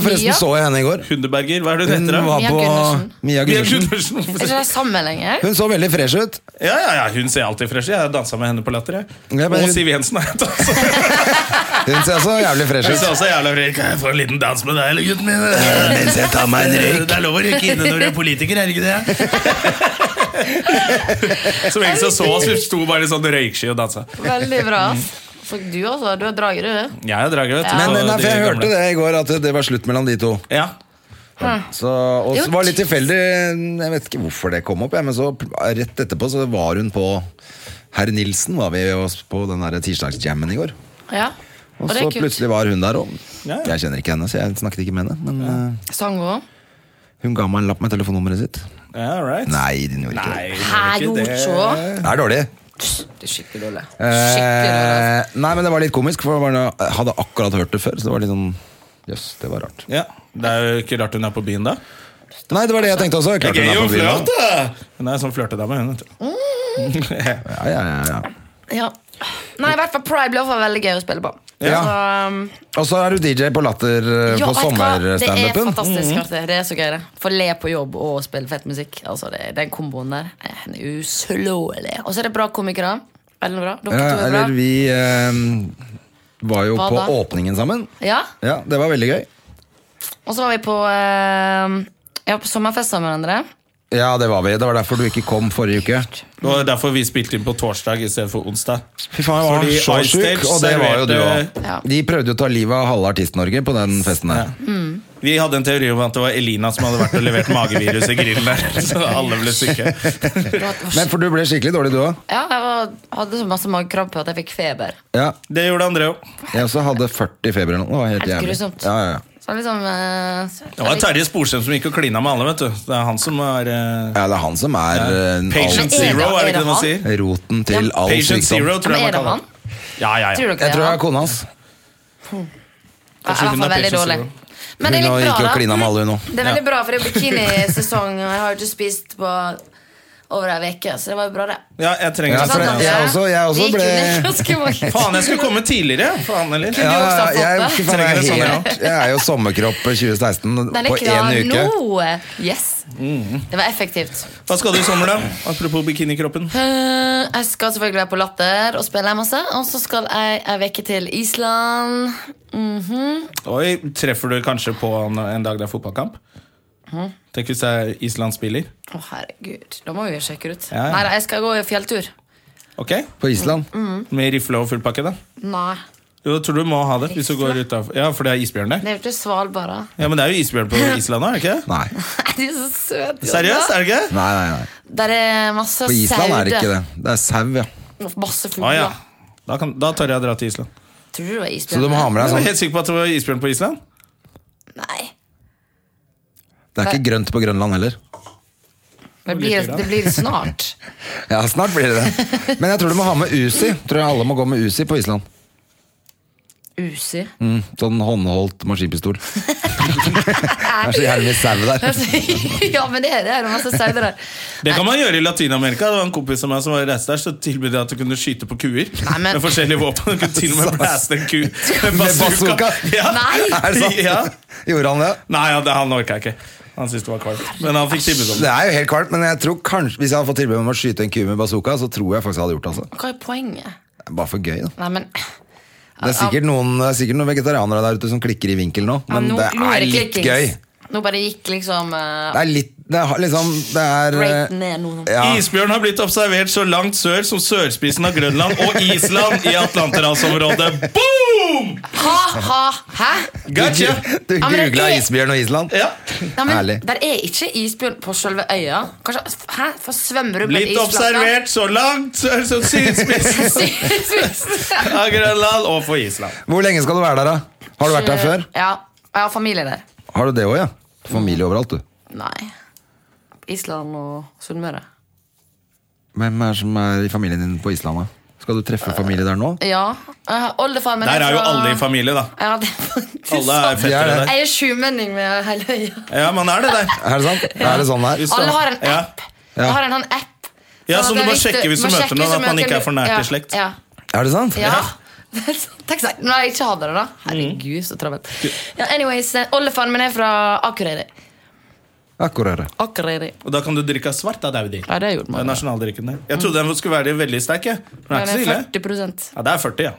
Speaker 1: forresten
Speaker 3: Mia?
Speaker 1: så jeg henne i går.
Speaker 2: Hundeberger. Hva er det hun
Speaker 1: Hun
Speaker 2: heter, da?
Speaker 1: var
Speaker 3: Mia
Speaker 1: på
Speaker 3: Gundersen.
Speaker 2: Mia
Speaker 1: Mia Gundersen.
Speaker 2: Gundersen.
Speaker 3: Er ikke de sammen lenger?
Speaker 1: Hun så veldig fresh ut.
Speaker 2: Ja, ja, ja, hun ser alltid fresh ut. Jeg har dansa med henne på Latter. Jeg.
Speaker 1: Ja, men
Speaker 2: og
Speaker 1: hun-
Speaker 2: Siv Jensen har jeg dansa med.
Speaker 1: Hun ser så jævlig fresh
Speaker 2: Hun
Speaker 1: ut.
Speaker 2: ser også jævla frekk Kan jeg få en liten dans med deg, eller gutten min? Mens jeg tar
Speaker 1: eh,
Speaker 2: meg en røyk. Eh, Det er lov å røyke inne når du er politiker, er det ikke det? Som ingen som så oss, vi sto bare i sånn røyksky og dansa.
Speaker 3: Veldig bra. ass.
Speaker 2: Mm.
Speaker 3: For du også, du har drager, du.
Speaker 2: Jeg er drager, vet du.
Speaker 1: Men
Speaker 2: og
Speaker 1: nei, for
Speaker 2: de
Speaker 1: jeg
Speaker 2: gamle.
Speaker 1: hørte det i går, at det var slutt mellom de to.
Speaker 2: Ja.
Speaker 1: Så, og så
Speaker 3: Det er jo
Speaker 1: var det litt tilfeldig, jeg vet ikke hvorfor det kom opp, jeg, men så rett etterpå så var hun på Herr Nilsen, var vi oss på den der tirsdagsjammen i går.
Speaker 3: Ja.
Speaker 1: Og
Speaker 3: Og det
Speaker 1: så
Speaker 3: er kult.
Speaker 1: plutselig var hun der òg.
Speaker 2: Ja, ja.
Speaker 1: Jeg kjenner ikke henne, så jeg snakket ikke med henne. Men eh,
Speaker 3: Sang hun òg?
Speaker 1: hun ga meg en lapp med telefonnummeret sitt.
Speaker 2: Ja, right.
Speaker 1: Nei, den gjorde ikke
Speaker 2: Nei,
Speaker 1: det.
Speaker 2: det
Speaker 3: Hæ,
Speaker 2: var ikke
Speaker 3: gjorde
Speaker 2: det.
Speaker 3: ikke hun?
Speaker 1: Det er dårlig.
Speaker 3: Det er skikkelig dårlig. Skikkelig altså. dårlig. ass.
Speaker 1: Eh, nei, men det var litt komisk, for det var noe, jeg hadde akkurat hørt det før. Så det var litt sånn Jøss, det var rart.
Speaker 2: Ja, Det er jo ikke rart hun er på byen da.
Speaker 1: Nei, det var det jeg tenkte også. Klart hun er på byen.
Speaker 2: flørte! Hun er en sånn flørtedame. hun, vet du.
Speaker 1: Ja, ja, ja, ja.
Speaker 3: Ja. Nei, i hvert fall Pride ble iallfall veldig gøy å spille på.
Speaker 1: Ja.
Speaker 3: Så, um,
Speaker 1: Og så er du DJ på Latter eh,
Speaker 3: ja,
Speaker 1: på
Speaker 3: vet du hva? Det er
Speaker 1: sommerstandupen. Mhm.
Speaker 3: fantastisk artig. Det er så gøy, det. Få le på jobb og spille fett musikk. Altså, det, Den komboen der eh, den er uslåelig. Og så er det bra komikere. Veldig bra. Dere
Speaker 1: Ja,
Speaker 3: to er bra.
Speaker 1: eller vi eh, var jo
Speaker 3: Hva
Speaker 1: på
Speaker 3: da?
Speaker 1: åpningen sammen.
Speaker 3: Ja.
Speaker 1: Ja, det var veldig gøy.
Speaker 3: Og så var vi på, eh, ja, på sommerfest sammen med hverandre.
Speaker 1: Ja, det var vi. Det var derfor du ikke kom forrige uke.
Speaker 2: Det var derfor vi spilte inn på torsdag istedenfor onsdag.
Speaker 1: Fy faen, jeg var
Speaker 2: Fordi
Speaker 1: så
Speaker 2: Ice
Speaker 1: sjuk,
Speaker 2: Stage
Speaker 1: og det var jo du òg.
Speaker 2: serverte-
Speaker 3: Ja.
Speaker 1: De prøvde jo å ta livet av halve Artist-Norge på den festen der.
Speaker 2: Vi hadde en teori om at det var Elina som hadde vært og levert magevirus i grillen der. Så alle ble syke.
Speaker 3: Det var-
Speaker 1: Men for du ble skikkelig dårlig, du òg.
Speaker 3: Ja, jeg var, hadde så masse magekrampe at jeg fikk feber.
Speaker 1: Ja,
Speaker 2: Det gjorde André òg.
Speaker 1: jeg også hadde 40 feber eller noe. Det var helt
Speaker 3: Helt
Speaker 1: jævlig.
Speaker 3: grusomt.
Speaker 1: Ja, ja, ja.
Speaker 3: Så liksom eh, så-
Speaker 2: Det var Terje Sporsem som gikk og klina med alle, vet du. Det er han som er eh,
Speaker 1: Ja, det er han som er eh,
Speaker 2: patient
Speaker 3: Men er det-
Speaker 2: zero, er det
Speaker 3: er
Speaker 2: ikke
Speaker 3: det
Speaker 2: det man
Speaker 3: han?
Speaker 2: sier?
Speaker 1: all, roten til
Speaker 3: Ja,
Speaker 1: all
Speaker 2: Patient
Speaker 1: sykdom.
Speaker 2: zero, tror
Speaker 3: Men
Speaker 2: jeg man
Speaker 3: er det
Speaker 2: kaller
Speaker 3: han?
Speaker 2: det. Ja, ja,
Speaker 3: Tror
Speaker 2: ja.
Speaker 3: dere det
Speaker 1: Jeg tror det
Speaker 3: er
Speaker 1: er kona hans.
Speaker 3: Ja,
Speaker 2: Kanskje
Speaker 3: i hvert
Speaker 2: hun er
Speaker 3: fall veldig
Speaker 2: patient
Speaker 3: dårlig.
Speaker 2: zero.
Speaker 3: Men det
Speaker 1: Hun
Speaker 3: er
Speaker 1: har
Speaker 3: litt
Speaker 1: ikke
Speaker 3: bra,
Speaker 1: klina med
Speaker 3: da.
Speaker 1: alle, hun nå.
Speaker 3: Det er veldig bra, for det er bikinisesong, og jeg har jo ikke spist på over ei uke, så det var jo bra, det.
Speaker 2: Ja, jeg trenger
Speaker 1: Ja,
Speaker 2: ikke
Speaker 1: for
Speaker 2: sånn.
Speaker 1: det- jeg også- jeg også
Speaker 3: Vi gikk
Speaker 1: ble-
Speaker 3: under ganske mange.
Speaker 2: Faen, jeg skulle komme tidligere! Faen, eller?
Speaker 1: Ja,
Speaker 3: også ha fått
Speaker 1: jeg,
Speaker 3: det?
Speaker 1: fy faen,
Speaker 2: Trenger
Speaker 1: jeg,
Speaker 2: det
Speaker 1: er
Speaker 2: sånn,
Speaker 1: helt, jeg er jo sommerkropp 2016
Speaker 3: Den er
Speaker 1: på
Speaker 3: klar
Speaker 1: én uke. Mm.
Speaker 3: nå! Yes. Det var effektivt.
Speaker 2: Hva skal du i sommer, da? Apropos bikinikroppen.
Speaker 3: Eh, jeg skal selvfølgelig være på Latter og spille masse. Og så skal jeg ei uke til Island. Mhm.
Speaker 2: Oi, treffer du kanskje på en, en dag det er fotballkamp?
Speaker 3: Hm?
Speaker 2: Tenk hvis det er Island spiller.
Speaker 3: Å, herregud. Da må vi jo sjekke det ut.
Speaker 2: Ja, ja.
Speaker 3: Nei, da, jeg skal gå i fjelltur.
Speaker 2: Ok?
Speaker 1: På Island.
Speaker 3: Mm.
Speaker 2: Med rifle og full pakke, da?
Speaker 3: Nei.
Speaker 2: Jo, jeg tror du må ha det hvis du går utenfor. Ja, for det er isbjørn der.
Speaker 3: Det er jo ikke Svalbard, da.
Speaker 2: Ja, Men det er jo isbjørn på Island òg, er det ikke? det?
Speaker 1: Nei.
Speaker 3: De er så søte.
Speaker 2: Seriøst, er det ikke? det?
Speaker 1: Nei, nei, nei.
Speaker 3: Der er masse
Speaker 1: På Island er det ikke
Speaker 3: sauer.
Speaker 1: det. Det er sau, ja.
Speaker 3: Masse
Speaker 2: Å
Speaker 3: fugler.
Speaker 2: Ah, ja. Da, kan, da tør jeg å dra til Island.
Speaker 3: Tror du det var isbjørn?
Speaker 1: Så du må ha med
Speaker 2: Jeg
Speaker 1: deg
Speaker 2: var
Speaker 1: sånn
Speaker 2: helt sikker på at det var isbjørn på Island.
Speaker 3: Nei.
Speaker 1: Det er ikke grønt på Grønland heller.
Speaker 3: Det blir, det blir snart.
Speaker 1: Ja, snart blir det det. Men jeg tror du må ha med Uzi. Tror jeg alle må gå med Uzi på Island.
Speaker 3: Usi.
Speaker 1: Mm, sånn håndholdt maskinpistol. det er så jævlig mye sau der.
Speaker 3: ja, men det er det. er masse sauer der.
Speaker 2: Det kan man gjøre i Latin-Amerika. Det var En kompis av meg som var reist der, så tilbød jeg at du kunne skyte på kuer.
Speaker 3: Nei, men-
Speaker 2: Med forskjellige våpen. Du kunne til og med blaste en ku med bazooka.
Speaker 1: bazooka?
Speaker 2: Ja.
Speaker 3: Nei!
Speaker 1: Er det sant?
Speaker 2: Ja.
Speaker 1: Gjorde han det?
Speaker 2: Nei, ja, det, han orka ikke. Han syntes det var kvalmt. Men han fikk tilbud om
Speaker 1: Det
Speaker 2: det.
Speaker 1: er jo helt kvalmt, men jeg tror kanskje hvis jeg hadde fått tilbud om å skyte en ku med bazooka, så tror jeg faktisk jeg hadde gjort det. altså.
Speaker 3: Hva er poenget?
Speaker 1: Det er Bare for gøy, da.
Speaker 3: Nei, men
Speaker 1: Det er sikkert noen, det er sikkert noen vegetarianere der ute som klikker i vinkel nå, men
Speaker 3: Ja, nå-
Speaker 1: det
Speaker 3: nå er
Speaker 1: er
Speaker 3: det
Speaker 1: litt
Speaker 3: klikkings.
Speaker 1: gøy.
Speaker 3: Nå bare gikk liksom eh,
Speaker 1: Det er litt Det er liksom Det er eh,
Speaker 3: straight ned nå.
Speaker 1: ja.
Speaker 2: Isbjørn har blitt observert så langt sør som sørspissen av Grønland og Island i Atlanterhavsområdet. Boom!
Speaker 3: Ha, ha, hæ?
Speaker 2: Gotcha!
Speaker 1: Du
Speaker 3: Ja, men det
Speaker 1: googla
Speaker 3: er-
Speaker 1: isbjørn og Island?
Speaker 2: Ja.
Speaker 3: Nei, men,
Speaker 1: Ærlig.
Speaker 3: Der er ikke isbjørn på selve øya. Kanskje, hæ? For svømmer du med
Speaker 2: Blitt observert så langt sør som sydspissen
Speaker 3: Har
Speaker 2: av Grønland og for Island.
Speaker 1: Hvor lenge skal du være der, da? Har du vært
Speaker 3: Eh.
Speaker 1: der før?
Speaker 3: Ja, og jeg har familie der.
Speaker 1: Har du det òg, ja? Familie overalt, du.
Speaker 3: Nei. Island og Sunnmøre.
Speaker 1: Hvem er som er i familien din på Island? da? Skal du treffe familie der nå?
Speaker 3: Ja. jeg har Oldefaren min
Speaker 2: Der er jo alle i
Speaker 3: familie.
Speaker 2: familie, da.
Speaker 3: Ja, det er faktisk
Speaker 2: Alle er
Speaker 3: sant.
Speaker 2: fettere
Speaker 1: Ja,
Speaker 2: der.
Speaker 3: Jeg er sjumenning med hele øya.
Speaker 2: Ja, man er det der.
Speaker 1: Er det sant? Er det sånn det er?
Speaker 2: Hvis-
Speaker 3: Alle har en
Speaker 2: Ja.
Speaker 3: app. Jeg har en sånn app.
Speaker 2: Ja,
Speaker 3: Sånn
Speaker 2: så du
Speaker 3: at jeg
Speaker 2: må
Speaker 3: visste-
Speaker 2: sjekke hvis du
Speaker 3: må
Speaker 2: møter
Speaker 3: sjekke
Speaker 2: noen
Speaker 3: hvis
Speaker 2: at
Speaker 3: jeg
Speaker 2: man
Speaker 3: møter
Speaker 2: ikke er for
Speaker 3: noen.
Speaker 2: nært i
Speaker 3: Ja,
Speaker 2: slekt.
Speaker 3: Ja.
Speaker 1: Er det sant?
Speaker 3: Ja. Det er sant. Takk skal du ha. Når jeg ikke hadde det, da. Herregud, så travelt. Ja, anyways, eh, Oldefaren min er fra Akureyri.
Speaker 1: Akkurat.
Speaker 3: Akureyri.
Speaker 2: Og da kan du drikke svart av daudi.
Speaker 3: Ja, det gjorde
Speaker 2: Det er
Speaker 3: man.
Speaker 2: nasjonaldrikken der. Jeg trodde den skulle være veldig sterk. jeg. Den er ikke så
Speaker 3: Den
Speaker 2: ille.
Speaker 3: er 40
Speaker 2: Ja, det er 40, ja.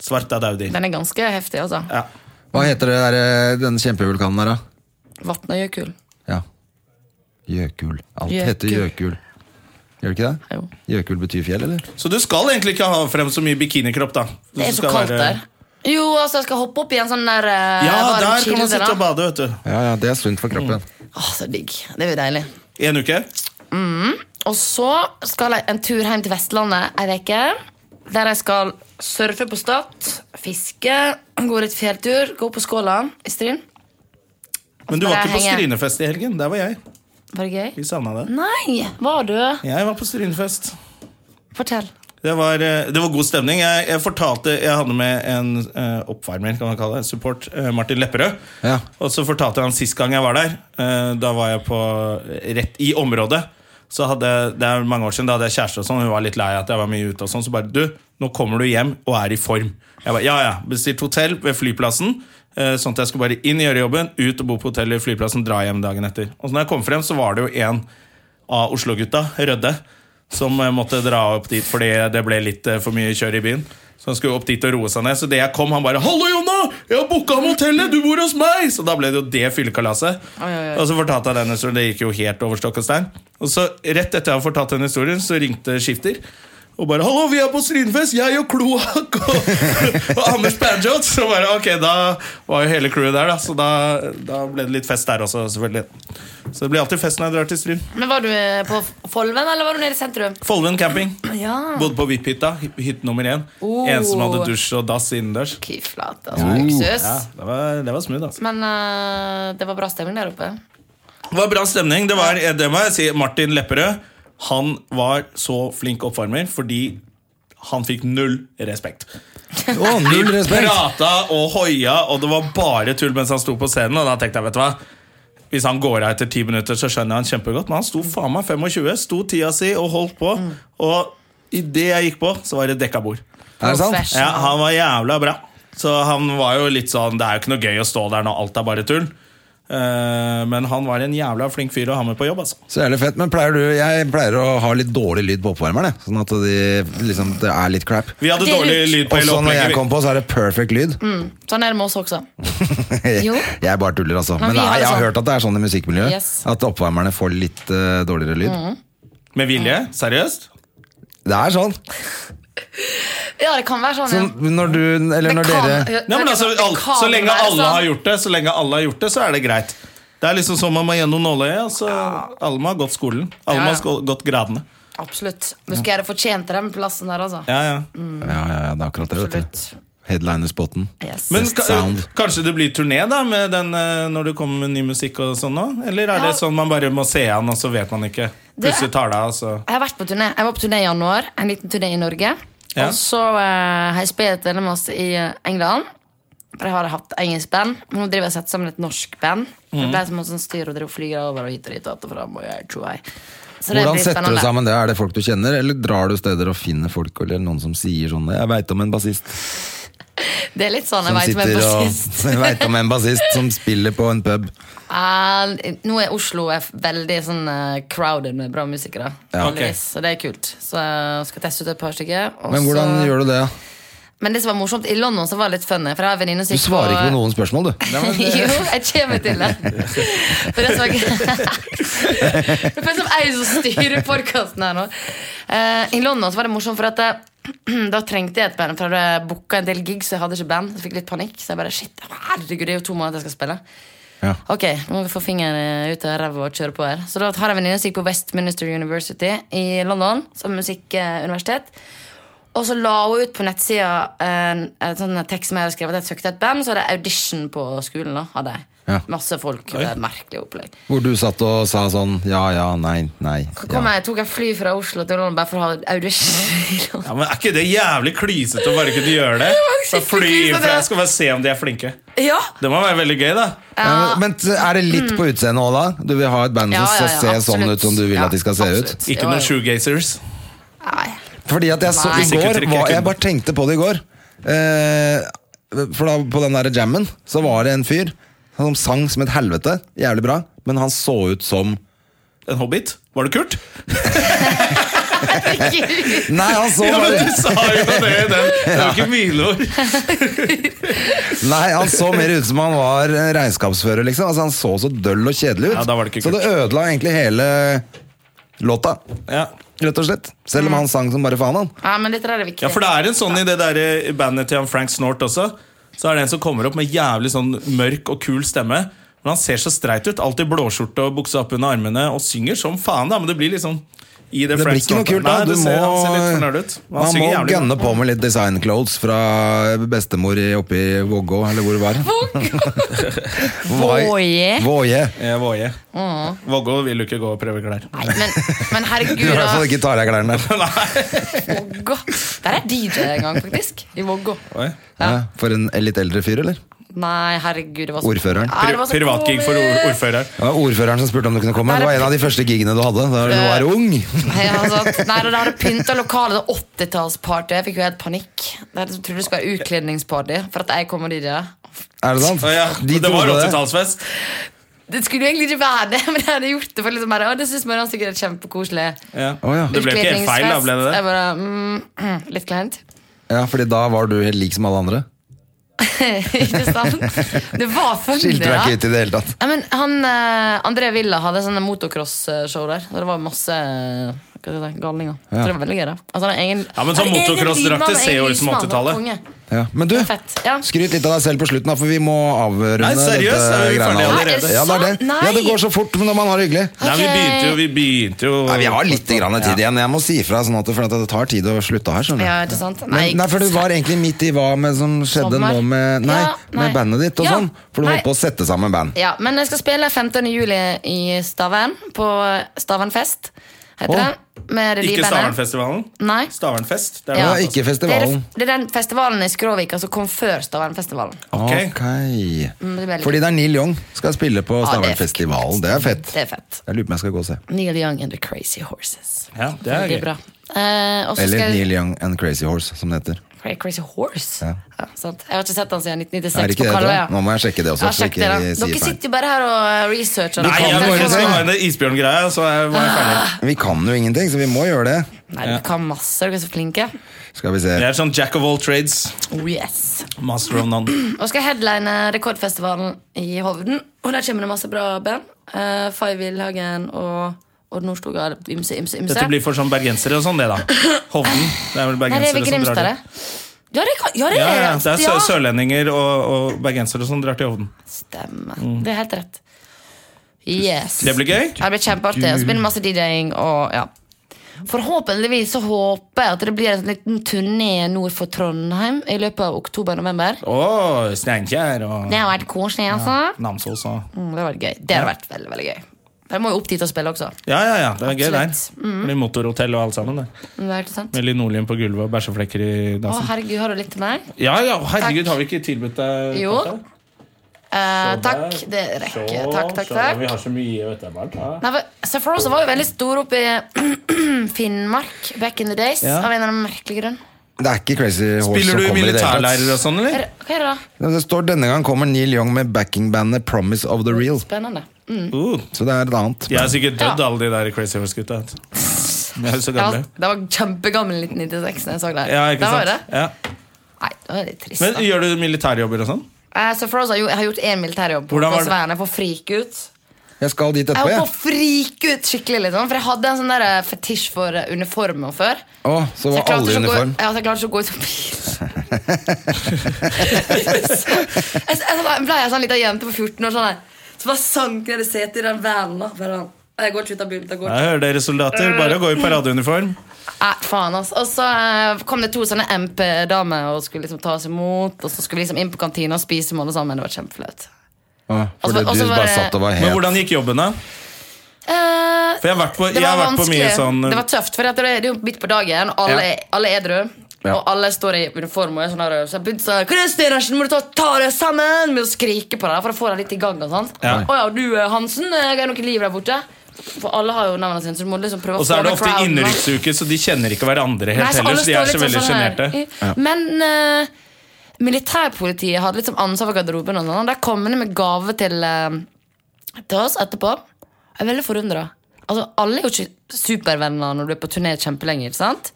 Speaker 2: Svart av daudi.
Speaker 3: Den er ganske heftig, altså.
Speaker 2: Ja.
Speaker 1: Hva heter det der, eh, den kjempevulkanen der, da?
Speaker 3: Vatnajökull.
Speaker 1: Ja. Gjøkul. Alt
Speaker 3: Gjøkul.
Speaker 1: heter Gjøkul. Gjør det ikke det?
Speaker 3: Jo.
Speaker 1: Gjøkul betyr fjell, eller?
Speaker 2: Så du skal egentlig ikke ha frem så mye bikinikropp, da. Du
Speaker 3: Det er så
Speaker 2: skal
Speaker 3: kaldt
Speaker 2: være-
Speaker 3: der. Jo, altså, jeg skal hoppe opp i en sånn der eh,
Speaker 2: Ja,
Speaker 3: varm
Speaker 2: der kan
Speaker 3: kilde,
Speaker 2: man sitte
Speaker 3: da.
Speaker 2: og bade, vet du.
Speaker 1: Ja, ja, det er sunt for kroppen.
Speaker 3: Åh, så digg. Det blir deilig.
Speaker 2: I en uke.
Speaker 3: Og så skal jeg en tur hjem til Vestlandet ei uke. Der jeg skal surfe på Stad, fiske, gå litt fjelltur, gå på Skåla i Stryn.
Speaker 2: Men du var
Speaker 3: Bare
Speaker 2: ikke på
Speaker 3: henge. Mm.
Speaker 2: Strynefest i helgen. Der var jeg.
Speaker 3: Var det gøy?
Speaker 2: Vi savna det.
Speaker 3: Nei! Var du?
Speaker 2: Jeg var på Strynefest.
Speaker 3: Fortell.
Speaker 2: Det var, eh, det var god stemning. Jeg, jeg fortalte, jeg hadde med en eh, oppvarmer, kan man kalle det, support, eh, Martin Lepperød.
Speaker 1: Ja.
Speaker 2: Og så fortalte jeg han sist gang jeg var der. eh, da var jeg på, rett i området. Så hadde, det er mange år siden, Da hadde jeg kjæreste, og sånn, hun var litt lei av at jeg var mye ute. og sånn, Så bare du, nå kommer du hjem og er i form. Jeg bare, ja, ja, Bestilt hotell ved flyplassen, eh, sånn at jeg skulle bare inn og gjøre jobben, ut og bo på hotellet i flyplassen, dra hjem dagen etter. Og så når jeg kom frem, så var det jo en av Oslo-gutta, Rødde, som eh, måtte dra opp dit fordi det ble litt eh, for mye kjør i byen. Så han skulle opp dit og roe seg ned. Så det jeg kom, han bare 'Hallo, Jonna! Jeg har booka om hotellet! Du bor hos meg!' Så da ble det jo det fyllekalaset.
Speaker 3: oi, oi.
Speaker 2: Og så fortalte jeg den historien. Det gikk jo helt over stokk og stein. Og så rett etter jeg har fortalt den historien, så ringte Skifter. Og bare 'Hallo, vi er på Strynfest! Jeg og Kloakk og, og Anders Banjot!' Så bare Ok, da var jo hele crewet der, da. Så da, da ble det litt fest der også, selvfølgelig. Så det blir alltid fest når jeg drar til Stryn.
Speaker 3: Men Var du eh, på Folven, eller var du nede i sentrum?
Speaker 2: Folven camping.
Speaker 3: Ja.
Speaker 2: Bodde på VIP-hytta. hy- Hytte nummer én.
Speaker 3: Ah. Oh.
Speaker 2: En som hadde dusj og dass innendørs.
Speaker 3: Fy flate, altså. Luksus.
Speaker 2: Oh, Ja, det var, det var smooth, altså.
Speaker 3: Men eh, det var bra stemning der oppe.
Speaker 2: Det var bra stemning. Det, var, det må jeg si. Martin Lepperød han var så flink oppvarmer fordi han fikk null respekt.
Speaker 1: Å, null respekt!
Speaker 2: Prata og hoia, og det var bare tull mens han sto på scenen. Og da tenkte jeg, vet du hva hvis han går av etter ti minutter, så skjønner jeg han kjempegodt. Men han sto faen meg 25, sto tida si og holdt på. Og idet jeg gikk på, så var det dekka bord.
Speaker 1: Er det sant?
Speaker 3: Professional.
Speaker 2: Ja, han var jævla bra. Så han var jo litt sånn Det er jo ikke noe gøy å stå der når alt er bare tull. Eh, men han var en jævla flink fyr å ha med på jobb, altså.
Speaker 1: Så jævlig fett. Men pleier du Jeg pleier å ha litt dårlig lyd på oppvarmeren, jeg. Sånn at de, liksom, det er litt crap.
Speaker 2: Vi hadde
Speaker 3: Det er
Speaker 2: dårlig
Speaker 3: lurt.
Speaker 2: lyd på hele
Speaker 1: Også når jeg
Speaker 2: opplegget.
Speaker 1: kom på, så er det perfect lyd.
Speaker 3: Sånn er det med oss også. Jo.
Speaker 1: Jeg bare tuller, altså.
Speaker 3: Men
Speaker 1: Men
Speaker 3: vi
Speaker 1: det
Speaker 3: har
Speaker 1: er,
Speaker 3: det
Speaker 1: jeg har
Speaker 3: sånn.
Speaker 1: hørt at det er sånn i musikkmiljøet.
Speaker 3: Yes. Mm.
Speaker 1: At oppvarmerne får litt eh, dårligere lyd.
Speaker 2: Vi- Med vilje? Seriøst?
Speaker 1: Det er sånn.
Speaker 3: Ja, det kan være sånn.
Speaker 1: Sånn,
Speaker 3: ja.
Speaker 1: når du Eller når
Speaker 3: kan-
Speaker 1: dere
Speaker 2: Nei, men altså,
Speaker 3: Det kan
Speaker 2: all, så lenge
Speaker 3: være
Speaker 2: alle
Speaker 3: sånn.
Speaker 2: har gjort det, Så lenge alle har gjort det, så er det greit. Det er liksom som man må gjennom nåløyet. Altså, alle må ha gått skolen. Alle må
Speaker 3: Ja,
Speaker 2: ha
Speaker 3: ja.
Speaker 2: sko- gått gradene.
Speaker 3: Absolutt. Men skulle jeg det fortjent den plassen der, altså?
Speaker 2: Ja, ja.
Speaker 1: Ja, ja, ja, det er akkurat det, vet du.
Speaker 3: Absolutt.
Speaker 1: Headlinerspotten.
Speaker 3: Yes.
Speaker 2: Men
Speaker 1: Best
Speaker 2: ka-
Speaker 1: sound.
Speaker 2: kanskje det blir turné da med den, eh, når du kommer med ny musikk og sånn nå? Eller er
Speaker 3: Ja.
Speaker 2: det sånn man bare må se an, og så vet man ikke?
Speaker 3: Det-
Speaker 2: Plutselig tar det av, så
Speaker 3: Jeg har vært på turné. Jeg var på turné i januar. En liten turné i Norge.
Speaker 2: Ja.
Speaker 3: Og så eh, har jeg spilt veldig masse i eh, England. For jeg har hatt engelsk band. Men Nå driver jeg og setter sammen et norsk band.
Speaker 2: Mhm.
Speaker 3: Det ble som et sånt styr og driver og flyr over og hit og dit. Og att og fram, og jeg tror jeg. Så det
Speaker 1: Hvordan
Speaker 3: blir
Speaker 1: setter du
Speaker 3: spennende.
Speaker 1: sammen det? Er det folk du kjenner, eller drar du steder og finner folk, eller noen som sier sånn 'Jeg veit om en bassist
Speaker 3: Det er litt sånn
Speaker 1: som
Speaker 3: jeg vet hvem
Speaker 1: sitter
Speaker 3: på
Speaker 1: og
Speaker 3: sist.
Speaker 1: Jeg vet om en bassist som spiller på en pub'.
Speaker 3: Eh, nå er Oslo er f- veldig sånn eh, crowded med bra musikere.
Speaker 2: Ja.
Speaker 3: eh, heldigvis, Så det er kult. Så jeg skal teste ut et par stykker. og
Speaker 1: Men hvordan
Speaker 3: så-
Speaker 1: gjør du det?
Speaker 3: Men det som var morsomt i London, så var det litt funny. For jeg har en venninne som
Speaker 1: Du
Speaker 3: gikk
Speaker 1: svarer
Speaker 3: på-
Speaker 1: ikke på noen spørsmål, du. eh,
Speaker 3: jo, jeg kommer til det. For det som er Det føles som jeg som styrer podkasten her nå. Eh, I London så var det morsomt, for at eh, da trengte jeg et band. For jeg hadde booka en del gigs, så jeg hadde ikke band. Så jeg fikk litt panikk. Så jeg bare shit, herregud, det er jo to måneder jeg skal spille.
Speaker 1: Ja.
Speaker 3: Ok, nå må vi få fingeren eh, ut av ræva og kjøre på her. Så da har jeg en venninne som gikk på Westminster University i London, som musikkuniversitet. Og så la hun ut på nettsida en, en sånn tekst som jeg hadde skrevet. at Jeg søkte et band, så hadde jeg audition på skolen. da, hadde jeg.
Speaker 1: Ja.
Speaker 3: Masse folk. Det var et merkelig opplegg.
Speaker 1: Hvor du satt og sa sånn ja, ja, nei, nei.
Speaker 3: Så
Speaker 1: Ja.
Speaker 3: kom jeg, tok jeg fly fra Oslo til London bare for å ha audition.
Speaker 2: Ja, men Er ikke det jævlig klysete å bare kunne gjøre det?
Speaker 3: var
Speaker 2: Så fly
Speaker 3: skikkelig klysete.
Speaker 2: ifra, jeg skal bare se om de er flinke.
Speaker 3: ja!
Speaker 2: Det må være veldig gøy, da.
Speaker 1: Ja, men, men er det litt på utseendet òg, da? Du vil ha et band som
Speaker 3: Ja, ja, ja,
Speaker 1: ser sånn
Speaker 3: absolutt.
Speaker 1: ut som du vil
Speaker 3: Ja,
Speaker 1: at de skal se ut?
Speaker 3: absolutt.
Speaker 2: Ikke
Speaker 3: Ja,
Speaker 2: noen
Speaker 3: ja.
Speaker 2: shoegazers.
Speaker 3: Nei.
Speaker 1: Fordi at jeg så
Speaker 3: Nei.
Speaker 1: i går
Speaker 2: Sekretær-
Speaker 1: var, Jeg bare tenkte på det i går eh, For da på den der jammen Så var det en fyr Som sang som et helvete Jævlig bra Men han så ut som
Speaker 2: En hobbit? Var det Kurt?
Speaker 1: Nei, han så
Speaker 2: Ja, men
Speaker 1: bare
Speaker 2: du sa jo det! i Den. Det er jo ikke mileord.
Speaker 1: Nei, han så mer ut som han var eh, regnskapsfører liksom Altså han så så døll og kjedelig ut
Speaker 2: Ja, da var det ikke
Speaker 1: Så det ødela egentlig hele låta
Speaker 2: Ja.
Speaker 1: Rett og slett Selv
Speaker 3: Mm.
Speaker 1: om han sang som bare faen han
Speaker 3: Ja, men dette der er viktig.
Speaker 2: ja, for det er en sånn i det der eh, bandet til han Frank Snort også. Så er det en som kommer opp med jævlig sånn mørk og kul stemme. Men han ser så streit ut. Alltid blåskjorte og buksa opp under armene og synger som faen, da. Men det blir liksom i det,
Speaker 1: Det blir
Speaker 2: Frank
Speaker 1: ikke noe
Speaker 2: Snort-
Speaker 1: kult da
Speaker 2: Nei,
Speaker 1: Du
Speaker 2: du
Speaker 1: må
Speaker 2: ser, han ser litt fornøyd ut. Men Han
Speaker 1: Man må
Speaker 2: synger jævlig.
Speaker 1: gønne på med litt design clothes Fra bestemor i- oppe i Vågå Eller hvor det var
Speaker 3: Våje.
Speaker 1: Våje
Speaker 2: Eh, Våge.
Speaker 3: Mm.
Speaker 2: Vågå vil jo ikke gå og prøve klær.
Speaker 3: Nei, men, men
Speaker 1: Du
Speaker 3: herregud,
Speaker 1: i hvert fall
Speaker 3: da.
Speaker 1: ikke tar deg klærne.
Speaker 3: Vågå. Der er DJ en gang, faktisk. I Vågå.
Speaker 2: Oi.
Speaker 1: Ja. For en litt eldre fyr, eller?
Speaker 3: Nei, herregud, det var så
Speaker 1: Ordføreren.
Speaker 3: Ja, det var så
Speaker 2: Pri- Privatgig for
Speaker 3: komisk.
Speaker 2: or- ordfører.
Speaker 1: Det var ordføreren som spurte om du kunne komme. Det var en av de første gigene du hadde da du var ung.
Speaker 3: Nei, altså, at- nei, da de hadde pynta lokalet til 80-tallsparty. Jeg fikk jo helt panikk. Jeg trodde det skulle være utkledningsparty. For at jeg kom og de der.
Speaker 1: Er det sant?
Speaker 2: Å ja,
Speaker 1: De
Speaker 2: det var
Speaker 1: trodde
Speaker 2: 80-tallsfest.
Speaker 3: Det skulle jo egentlig ikke være det, men jeg hadde gjort det. For liksom bare, «Å, det synes man sikkert er kjempekoselig.
Speaker 2: Ja.
Speaker 1: Å ja.
Speaker 2: Det ble ikke helt feil, da ble det det?
Speaker 3: Jeg bare, mm, Litt kleint.
Speaker 1: ja, fordi da var du helt lik som alle andre.
Speaker 3: ikke sant? Det var funny,
Speaker 1: Skilte deg
Speaker 3: da.
Speaker 1: ikke ut i det hele tatt.
Speaker 3: Ja, men han, eh, André Villa hadde sånne motocross-show der. Og det var masse eh, hva skal jeg si, galninger. Så det var veldig gøy. da altså, han er egen-
Speaker 2: Ja, men sånn
Speaker 3: han er egen
Speaker 2: motocross-drakter
Speaker 3: lydmann,
Speaker 2: ser jo
Speaker 3: egen
Speaker 2: ut som
Speaker 3: lysmann,
Speaker 2: 80-tallet.
Speaker 3: konge.
Speaker 1: Ja. Men du,
Speaker 3: Fett. Ja.
Speaker 1: skryt litt av deg selv på slutten, da, for vi må avrunde
Speaker 2: Nei, seriøst, er vi ferdige
Speaker 1: greiene
Speaker 2: allerede?
Speaker 3: Nei, er det
Speaker 1: Ja, det er
Speaker 3: sant?
Speaker 1: det.
Speaker 3: Nei.
Speaker 1: Ja, det går så fort når man har det hyggelig.
Speaker 2: Nei, vi
Speaker 3: Ok.
Speaker 2: begynte jo, vi begynte jo
Speaker 1: Nei, vi har litt grann tid igjen. Jeg må si ifra, sånn at, for at det tar tid å slutte her. skjønner du.
Speaker 3: Ja, ikke sant?
Speaker 1: Nei, nei, for du var egentlig midt i hva med, som skjedde
Speaker 3: Sommer.
Speaker 1: nå med, nei,
Speaker 3: Ja, nei.
Speaker 1: med bandet ditt og
Speaker 3: Ja,
Speaker 1: sånn. For du
Speaker 3: nei.
Speaker 1: holdt på å sette sammen band.
Speaker 3: Ja, men jeg skal spille 15. juli i Stavern, på Stavernfest, heter
Speaker 1: Åh.
Speaker 3: det. Med det nye
Speaker 2: Ikke
Speaker 3: bandet.
Speaker 2: Stavernfestivalen?
Speaker 3: Nei.
Speaker 2: Stavernfest? Det
Speaker 3: Ja.
Speaker 1: Det
Speaker 2: er
Speaker 1: var
Speaker 2: det.
Speaker 1: ikke
Speaker 3: Det er,
Speaker 1: festivalen.
Speaker 3: det er den festivalen i Skråvika som kom før Stavernfestivalen.
Speaker 2: Ok.
Speaker 1: Ok.
Speaker 3: Mm, det blir litt-
Speaker 1: Fordi det er Neil Young skal spille på
Speaker 3: Ja, det er
Speaker 1: Stavernfestivalen. Det er fett.
Speaker 3: Det er fett.
Speaker 1: Jeg lurer på om jeg skal gå og se.
Speaker 3: Neil Young and The Crazy Horses.
Speaker 2: Ja, det er
Speaker 3: Veldig
Speaker 2: gøy.
Speaker 3: bra. Eh, og så
Speaker 1: Eller
Speaker 3: skal jeg-
Speaker 1: Neil Young and Crazy Horse, som det heter.
Speaker 3: Cra- Crazy Horse?
Speaker 1: Ja.
Speaker 3: sant. Jeg har ikke sett han siden
Speaker 1: Er
Speaker 3: 1996
Speaker 1: det ikke det?
Speaker 3: på
Speaker 1: det
Speaker 3: Kalvøya.
Speaker 1: heter? Nå må jeg sjekke det også.
Speaker 3: Ja,
Speaker 1: så
Speaker 3: sjekk
Speaker 1: ikke
Speaker 3: det da.
Speaker 1: jeg sier
Speaker 3: Dere
Speaker 1: feil.
Speaker 3: sitter jo bare her og eh, researcher.
Speaker 2: Nei, jeg
Speaker 1: kan
Speaker 2: bare
Speaker 1: det.
Speaker 2: skal ha inn det isbjørngreia, så jeg var jeg
Speaker 3: Ah.
Speaker 2: ferdig.
Speaker 1: Vi kan jo ingenting, så vi må gjøre det.
Speaker 3: Nei, dere kan masse. Dere er så flinke.
Speaker 1: Skal vi se.
Speaker 2: Jeg er sånn jack of all trades,
Speaker 3: Oh yes
Speaker 2: master of none.
Speaker 3: Og skal headline Rekordfestivalen i Hovden. Og der kommer det masse bra band. Uh, Fay Wilhagen og Odd Nordstoga. Ymse, ymse, ymse.
Speaker 2: Dette blir for sånn bergensere og sånn, det, da. Hovden. Det er vel
Speaker 3: Nei, det
Speaker 2: bergensere
Speaker 3: er vel
Speaker 2: som drar
Speaker 3: Grimstad, det.
Speaker 2: til
Speaker 3: Ja, det, kan, ja, det
Speaker 2: ja,
Speaker 3: er
Speaker 2: ja, det er sø
Speaker 3: ja.
Speaker 2: sørlendinger og, og bergensere som drar til Hovden.
Speaker 3: Stemmer. Det er helt rett. Yes.
Speaker 2: Mm. Det blir gøy.
Speaker 3: Ja, det blir kjempeartig. Og så blir det masse DJ-ing og ja. Forhåpentligvis så håper jeg at det blir en liten turné nord for Trondheim i løpet av oktober-november.
Speaker 2: Å, Steinkjer og
Speaker 3: Det har vært koselig, altså.
Speaker 2: Namsos og
Speaker 3: Mm, det har vært gøy. Det har vært veldig, veldig gøy. Jeg må jo opp dit og spille også.
Speaker 2: Ja, ja, ja. Det er gøy der.
Speaker 3: Absolutt. Mm.
Speaker 2: Blir motorhotell og alt sammen. Det.
Speaker 3: Det er ikke sant?
Speaker 2: Med linoleum på gulvet og bæsjeflekker i
Speaker 3: Å,
Speaker 2: dassen.
Speaker 3: herregud, har du litt til meg?
Speaker 2: Ja, ja, herregud, har vi ikke tilbudt deg
Speaker 3: Jo.
Speaker 2: kaffe? Så
Speaker 3: Eh, takk.
Speaker 2: der.
Speaker 3: Det rekker.
Speaker 2: Så,
Speaker 3: Takk, takk,
Speaker 2: så,
Speaker 3: takk.
Speaker 2: Vi har så mye, vet du. Bernt. Ja.
Speaker 3: Nei, for Sephirosa var jo veldig stor oppe i Finnmark back in the days.
Speaker 2: Ja.
Speaker 3: Av en eller annen merkelig grunn.
Speaker 1: Det er ikke Crazy Horse
Speaker 2: Spiller
Speaker 1: som
Speaker 2: du i
Speaker 1: kommer i det hele
Speaker 2: militærleirer
Speaker 1: tatt.
Speaker 2: og sånn,
Speaker 3: Er
Speaker 2: eller?
Speaker 3: det- Hva er det da?
Speaker 1: Men Det står denne gang kommer Neil Young med backingbandet Promise of the Real.
Speaker 3: Spennende. Mm.
Speaker 2: Uh,
Speaker 1: Så det er et annet.
Speaker 2: de er sikkert dødd,
Speaker 3: Ja.
Speaker 2: alle de der Crazy Horse-gutta. vet du. De er jo så
Speaker 3: Ja,
Speaker 2: gamle.
Speaker 3: det var kjempegammel 1996 når jeg så det. her.
Speaker 2: Ja, ikke
Speaker 3: det var jo
Speaker 2: sant?
Speaker 3: det.
Speaker 2: Ja.
Speaker 3: Nei, Det var litt trist,
Speaker 2: Men
Speaker 3: da.
Speaker 2: Gjør du militærjobber og sånn?
Speaker 3: Eh, så Froze har jo, jeg har gjort én militærjobb. På
Speaker 2: Hvordan var det?
Speaker 3: Sværen. Jeg får frike ut.
Speaker 1: Jeg skal dit
Speaker 3: Jeg
Speaker 1: etterpå,
Speaker 3: var
Speaker 1: jeg.
Speaker 3: på frike ut skikkelig liksom. For jeg hadde en sånn der eh, fetisj for eh, uniformer før.
Speaker 1: Å, så
Speaker 3: jeg
Speaker 1: var
Speaker 3: klarte
Speaker 1: alle i
Speaker 3: ikke å gå-
Speaker 1: uniform.
Speaker 3: Ja, så jeg klarte ikke å gå ut av bilen. så, jeg, jeg, jeg ble en sånn liten jente på 14 år sånn der, som bare sank ned i setet i den vanen. da. Bare sånn, Jeg går ikke ut av bilen. Jeg går ikke.
Speaker 2: Jeg hører dere
Speaker 3: Mm.
Speaker 2: soldater. Bare å gå i paradeuniform.
Speaker 3: Nei, faen ass. Og så eh, kom det to sånne MP-damer og skulle liksom ta oss imot. Og så skulle vi liksom inn på kantina og spise med alle sammen. Det var kjempeflaut. Altså,
Speaker 1: Å, Fordi
Speaker 3: Og så- og så
Speaker 1: du
Speaker 3: var
Speaker 1: bare
Speaker 3: det-
Speaker 1: satt og var
Speaker 2: Men
Speaker 1: helt
Speaker 2: hvordan gikk jobben, da?
Speaker 3: Eh,
Speaker 2: For jeg har vært på,
Speaker 3: det
Speaker 2: jeg
Speaker 3: var
Speaker 2: har vært på mye
Speaker 3: vanskelig.
Speaker 2: sånn
Speaker 3: Det var tøft, for det er det jo midt på dagen, og alle,
Speaker 1: Ja.
Speaker 3: er- alle er edru.
Speaker 1: Ja.
Speaker 3: Og alle står i uniform, og jeg er sånn der, så jeg begynte sånn 'Kristin Ersen, må du ta, ta deg sammen?' Med å skrike på deg for å få deg litt i gang. og sånt.
Speaker 2: Ja.
Speaker 3: Å ja, du eh, Hansen, eh, er det noe liv der borte? For alle har jo navnene sine, så du må liksom prøve
Speaker 2: Og så
Speaker 3: få
Speaker 2: er det
Speaker 3: med
Speaker 2: ofte
Speaker 3: crowden, da.
Speaker 2: innenriksuke, så de kjenner ikke hverandre helt
Speaker 3: Nei, så alle
Speaker 2: heller. Så de
Speaker 3: står
Speaker 2: er så
Speaker 3: litt
Speaker 2: veldig
Speaker 3: sånn her.
Speaker 2: sjenerte.
Speaker 3: Men eh, militærpolitiet hadde litt sånn ansvar for garderoben. Og sånn. Der kom de med gave til, eh, til oss etterpå. Jeg er veldig forundra. Altså, alle er jo ikke supervenner når du er på turné kjempelenge. ikke sant?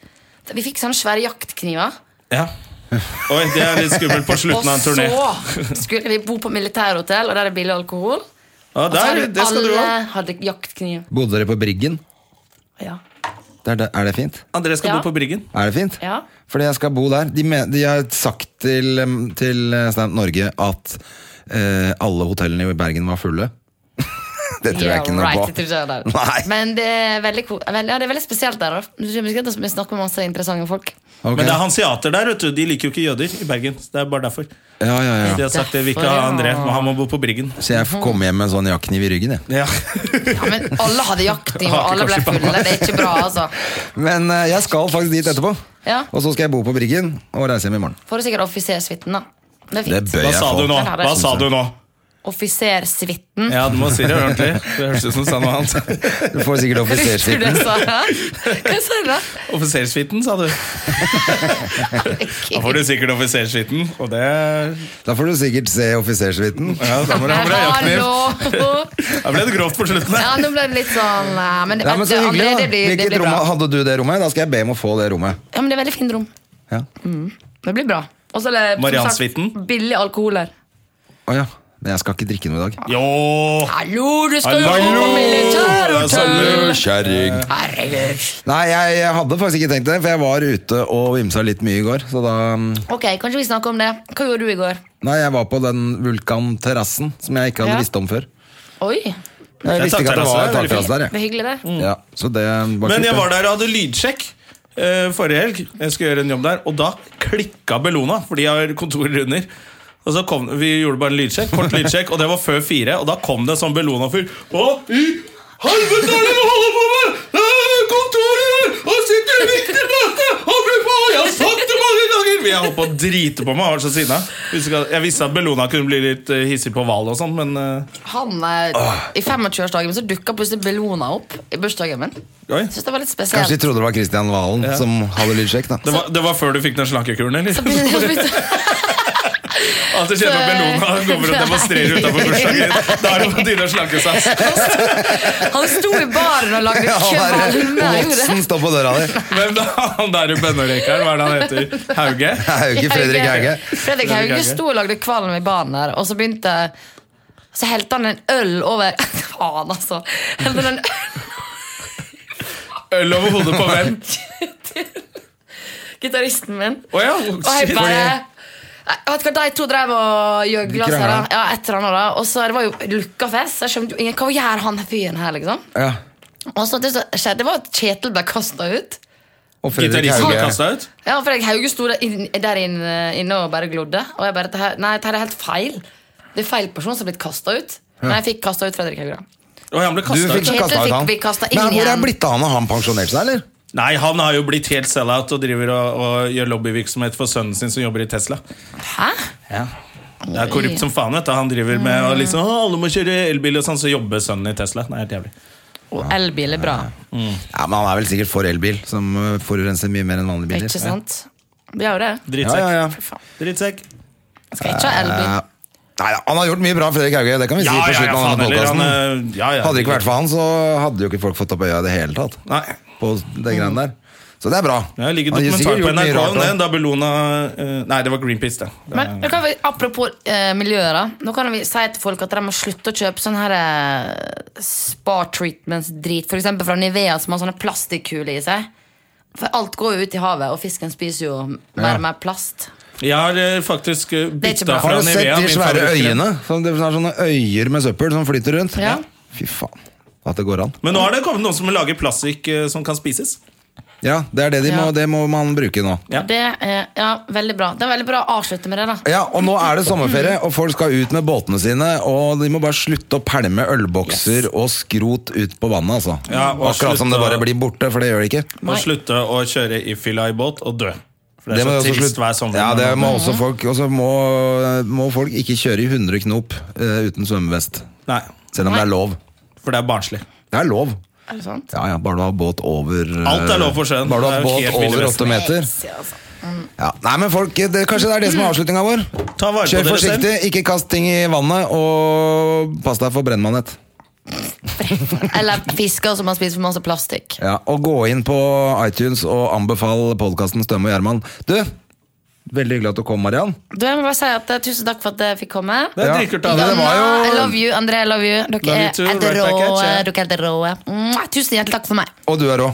Speaker 3: Så Vi fikk sånne svære jaktkniver.
Speaker 2: Ja. Oi, det er litt skummelt på
Speaker 3: Og
Speaker 2: slutten av en
Speaker 3: så
Speaker 2: turné.
Speaker 3: skulle vi bo på militærhotell, og der er billig alkohol.
Speaker 2: Ja,
Speaker 3: Og så
Speaker 2: der,
Speaker 3: hadde
Speaker 2: det skal du
Speaker 3: alle
Speaker 2: ha.
Speaker 3: hadde jaktkniv.
Speaker 1: Bodde dere på Briggen?
Speaker 3: Ja.
Speaker 1: Der, der, er det fint?
Speaker 2: André skal
Speaker 3: Ja.
Speaker 2: bo på Briggen.
Speaker 1: Er det fint?
Speaker 3: Ja.
Speaker 1: Fordi jeg skal bo der. De, men- de har sagt til, em, til eh, Stand Up Norge at eh, alle hotellene i Bergen var fulle. det tror jeg ikke
Speaker 3: Yeah,
Speaker 1: noe
Speaker 3: right,
Speaker 1: på.
Speaker 3: det tror ikke jeg heller.
Speaker 1: Nei.
Speaker 3: Men det er veldig, ko- vel- ja, det er veldig spesielt der. da. Du tror vi skal- Vi snakker med masse interessante folk.
Speaker 1: Ok.
Speaker 2: Men det er hanseater der, vet du. De liker jo ikke jøder i Bergen. Det er bare derfor.
Speaker 1: ja, ja,
Speaker 2: De
Speaker 1: ja.
Speaker 2: har sagt det, vi ikke har André, men han må bo på Briggen.
Speaker 1: Så jeg
Speaker 3: Mhm.
Speaker 1: f- kom hjem med en sånn jaktkniv i ryggen. Jeg.
Speaker 2: Ja.
Speaker 3: Ja, men alle hadde jakting, og
Speaker 2: Har
Speaker 3: alle
Speaker 2: ikke
Speaker 3: ble
Speaker 2: kanskje
Speaker 3: fulle. Det er ikke bra, altså.
Speaker 1: Men eh, jeg skal faktisk dit etterpå.
Speaker 3: Ja.
Speaker 1: Og så skal jeg bo på Briggen og reise hjem i morgen.
Speaker 3: Får du sikkert offisersuiten, da. Det er
Speaker 1: Det
Speaker 3: fint.
Speaker 1: bør
Speaker 2: Hva
Speaker 1: jeg sånn
Speaker 2: sa
Speaker 1: få.
Speaker 2: du nå?
Speaker 3: Den har jeg.
Speaker 2: Hva sa du nå?
Speaker 3: Offisersuiten.
Speaker 2: Ja, du må si det ordentlig. Det høres ut som sa noe annet.
Speaker 1: Du får sikkert
Speaker 3: Hva sa du?
Speaker 1: offisersvitten.
Speaker 3: da? Hva sa du da?
Speaker 2: Offisersuiten, sa du. Da får du sikkert offisersuiten, og det
Speaker 1: Da får du sikkert se offisersvitten.
Speaker 2: Ja, da må du ha på deg jaktkniv.
Speaker 3: Hallo!
Speaker 2: Da ble det grovt på slutten.
Speaker 3: Ja,
Speaker 2: der.
Speaker 3: nå ble det litt sånn eh, Men,
Speaker 1: Nei, men så
Speaker 3: André,
Speaker 1: hyggelig, da.
Speaker 3: det blir, det
Speaker 1: Hvilket
Speaker 3: blir
Speaker 1: rom
Speaker 3: bra.
Speaker 1: hadde du det rommet? Da skal jeg be om å få det rommet.
Speaker 3: Ja, men det er veldig fint rom.
Speaker 1: Ja.
Speaker 3: Det blir bra. Og så er det som sagt,
Speaker 2: Mariansvitten.
Speaker 3: billig alkohol her.
Speaker 1: Å ja. Men jeg skal ikke drikke noe i dag.
Speaker 2: Jo!
Speaker 3: Hallo, du skal jo
Speaker 2: Hallo!
Speaker 3: på
Speaker 2: Det er så
Speaker 3: militærhotell!
Speaker 2: lurt.
Speaker 1: Kjerring.
Speaker 3: Herregud.
Speaker 1: Nei, jeg, jeg hadde faktisk ikke tenkt det, for jeg var ute og vimsa litt mye i går. Så da mm,
Speaker 3: Ok, kanskje vi snakker om det. Hva gjorde du i går?
Speaker 1: Nei, jeg var på den vulkanterrassen som jeg ikke hadde
Speaker 3: Ja.
Speaker 1: visst om før.
Speaker 3: Oi,
Speaker 1: Jeg visste
Speaker 2: takterrasse, det
Speaker 1: ikke at det var
Speaker 2: er veldig
Speaker 1: takterrasse der,
Speaker 3: det er
Speaker 1: jeg.
Speaker 3: hyggelig det.
Speaker 1: Ja, så det var
Speaker 2: Men
Speaker 1: kult,
Speaker 2: jeg
Speaker 1: det.
Speaker 2: var der og hadde lydsjekk eh, forrige helg. Jeg skulle gjøre en jobb der, og da klikka Bellona, for de har kontorer under. Og så kom, Vi gjorde bare en lydsjekk, kort lydsjekk, og det var før fire. Og da kom det en sånn Bellona-fyr. Hva i helvete er det du holder på med?! Det er kontoret her! Han sitter midt i natta! Å, fy faen! Jeg har sagt det mange ganger! Vi har holdt på å drite på meg. Jeg var så sinna. Husker ikke at- Jeg visste at Bellona kunne bli litt eh, hissig på Hval og sånn, men eh,
Speaker 3: Han, eh, I 25-årsdagen min så dukka plutselig Bellona opp i bursdagen min.
Speaker 2: Oi.
Speaker 3: Jeg synes det var litt
Speaker 1: Kanskje
Speaker 3: spesielt.
Speaker 1: de trodde det var Kristian Valen som hadde lydsjekk, da.
Speaker 2: Det var, det var før du fikk den slankekuren, eller?
Speaker 3: Så begynte jeg å bytte-
Speaker 2: Alt jeg kjenner med Bellona han kommer og demonstrerer utenfor bursdagen. Da er det på tide å slanke seg.
Speaker 3: Han sto i baren og lagde
Speaker 1: Ja, han der,
Speaker 3: kvalme. jeg gjorde
Speaker 1: Watson
Speaker 3: det.
Speaker 1: står på døra di.
Speaker 2: Hvem da? Han der i bønnerekeren, hva er det han heter? Hauge?
Speaker 1: Det er jo ikke Fredrik Hauge.
Speaker 3: Fredrik Hauge sto og lagde kvalm i baren der, og så begynte Så helte han en øl over Faen, altså. Helte han en øl
Speaker 2: Øl over hodet på hvem?
Speaker 3: Gitaristen min.
Speaker 2: Å ja,
Speaker 3: Og jeg
Speaker 2: shit.
Speaker 3: bare jeg vet ikke hva, De to drev og gjøgla seg. da.
Speaker 1: Krangla.
Speaker 3: Ja, etter han, da. Og så Det var jo lukka fest. så Jeg skjønte jo ingen, Hva gjør han fyren her, liksom?
Speaker 1: Ja.
Speaker 3: Og så det, som skjedde, var at Kjetil ble kasta ut.
Speaker 1: Og Fredrik
Speaker 2: Gitaristen ble
Speaker 1: Hauge.
Speaker 2: kasta ut?
Speaker 3: Ja, for jeg Hauge sto der inn- der inne, inne og bare glodde. Og jeg bare "Dette her- Nei, dette her er helt feil. Det er feil person som er blitt kasta ut. Men jeg fikk kasta ut Fredrik Hauge. da.
Speaker 2: Å, han ble
Speaker 1: Du
Speaker 2: kastet
Speaker 1: fikk
Speaker 2: ut?
Speaker 3: Kjetil
Speaker 1: kasta ut
Speaker 3: fikk
Speaker 1: han.
Speaker 3: vi kastet inn
Speaker 1: Men hvor er
Speaker 3: igjen.
Speaker 1: blitt av han? Har han pensjonert seg, eller?
Speaker 2: Nei, han har jo blitt helt sell-out og driver og, og gjør lobbyvirksomhet for sønnen sin som jobber i Tesla.
Speaker 3: Hæ?
Speaker 2: Det er korrupt som faen, vet du. Han driver med å liksom Å, alle må kjøre elbil og sånn, så jobber sønnen i Tesla. Nei, helt jævlig.
Speaker 3: Og elbil er bra.
Speaker 1: Ja, men Han er vel sikkert for elbil, som øh, forurenser mye mer enn vanlige biler.
Speaker 3: Ikke sant? Vi har jo det.
Speaker 1: Ja, ja, ja.
Speaker 2: Drittsekk.
Speaker 3: Fy faen.
Speaker 2: Drittsekk.
Speaker 3: Skal ikke ha elbil.
Speaker 1: Eh, Nei, da, han har gjort mye bra, Fredrik Hauge. Det kan vi si
Speaker 2: Ja, ja,
Speaker 1: på
Speaker 2: ja,
Speaker 1: slutten av
Speaker 2: faen øh,
Speaker 1: denne
Speaker 2: heller.
Speaker 1: podcasten.
Speaker 2: Han, eh, ja, ja.
Speaker 1: Hadde det ikke vært for han, så hadde jo ikke folk fått opp øya i det hele tatt.
Speaker 2: Nei.
Speaker 1: på det greiene der. Så det er bra.
Speaker 2: Ja, det ligger
Speaker 1: Han har
Speaker 2: dokumentar på
Speaker 1: sikkert gjort mye
Speaker 2: NRK
Speaker 1: rart,
Speaker 2: om det.
Speaker 1: da.
Speaker 2: Da Bellona eh, Nei, det var Greenpeace, det. det.
Speaker 3: Men nå kan vi, apropos eh, miljøet, da. Nå kan vi si til folk at de må slutte å kjøpe sånne her, eh, spa treatments-drit. F.eks. fra Nivea, som har sånne plastikkuler i seg. For alt går jo ut i havet, og fisken spiser jo mer og mer plast.
Speaker 2: Jeg har eh, faktisk eh,
Speaker 3: er ikke
Speaker 2: bytta
Speaker 3: bra.
Speaker 2: fra
Speaker 1: Har du sett
Speaker 2: Nivea.
Speaker 1: de
Speaker 2: min
Speaker 1: svære
Speaker 2: favorittkrem.
Speaker 1: øyene? Sånn, det er sånne øyer med søppel som flyter rundt.
Speaker 3: Ja.
Speaker 1: Fy faen. At det går an.
Speaker 2: Men nå har det kommet noen som lager plastikk eh, som kan spises.
Speaker 1: Ja, det er det de
Speaker 3: Ja.
Speaker 1: må, det må man bruke nå.
Speaker 2: Ja.
Speaker 3: Det er ja, veldig bra. Det er veldig bra å avslutte med det, da.
Speaker 1: Ja, og nå er det sommerferie, og folk skal ut med båtene sine. Og de må bare slutte å pælme ølbokser og skrot ut på vannet, altså.
Speaker 2: Ja, og
Speaker 1: Akkurat som det
Speaker 2: slutte å-
Speaker 1: bare blir borte, for det gjør det ikke.
Speaker 2: Og slutte å kjøre i fylla i båt og dø. For det er
Speaker 1: Det må
Speaker 2: så
Speaker 1: jo også
Speaker 2: trist
Speaker 1: slutt-
Speaker 2: hver sommer.
Speaker 1: Ja, det må også folk Og så må, må folk ikke kjøre i 100 knop eh, uten svømmevest.
Speaker 2: Nei,
Speaker 1: Selv om det er lov.
Speaker 2: for det er barnslig.
Speaker 1: Det er lov.
Speaker 3: Er det sant?
Speaker 1: Ja, ja, bare du har båt over eh,
Speaker 2: Alt er lov på sjøen.
Speaker 1: Bare du
Speaker 2: Det
Speaker 1: har
Speaker 2: er jo
Speaker 1: båt
Speaker 2: helt ville
Speaker 1: over
Speaker 2: vesten.
Speaker 1: åtte meter.
Speaker 3: Yes, altså.
Speaker 1: Ja. Nei, men folk, det, kanskje det er det som er avslutninga vår.
Speaker 2: Ta vare på
Speaker 1: Kjør
Speaker 2: dere
Speaker 1: forsiktig,
Speaker 2: selv.
Speaker 1: ikke kast ting i vannet, og pass deg for brennmanett.
Speaker 3: Eller fisker som har spist for masse plastikk.
Speaker 1: Ja, og gå inn på iTunes og anbefal podkasten Stømme og Gjerman. Du, veldig hyggelig at du kom, Mariann.
Speaker 3: Du, jeg må bare si at eh, Tusen takk for at jeg fikk komme.
Speaker 2: Det er
Speaker 1: Ja.
Speaker 2: dritkult.
Speaker 1: Ja, det
Speaker 2: Anne.
Speaker 1: var jo-
Speaker 3: I love you, André. I love you. Dere
Speaker 2: Love you
Speaker 3: er
Speaker 2: too.
Speaker 3: helt
Speaker 2: Right back at
Speaker 3: rå.
Speaker 2: you.
Speaker 3: Dere er helt rå. Mwah! Tusen hjertelig takk for meg.
Speaker 1: Og du er rå.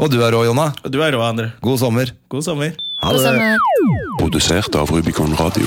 Speaker 1: Og du er rå, Jonna.
Speaker 2: Du er rå, André.
Speaker 1: God sommer.
Speaker 2: God sommer.
Speaker 1: Ha det.
Speaker 3: Samme.
Speaker 4: Produsert av Rubicon Radio.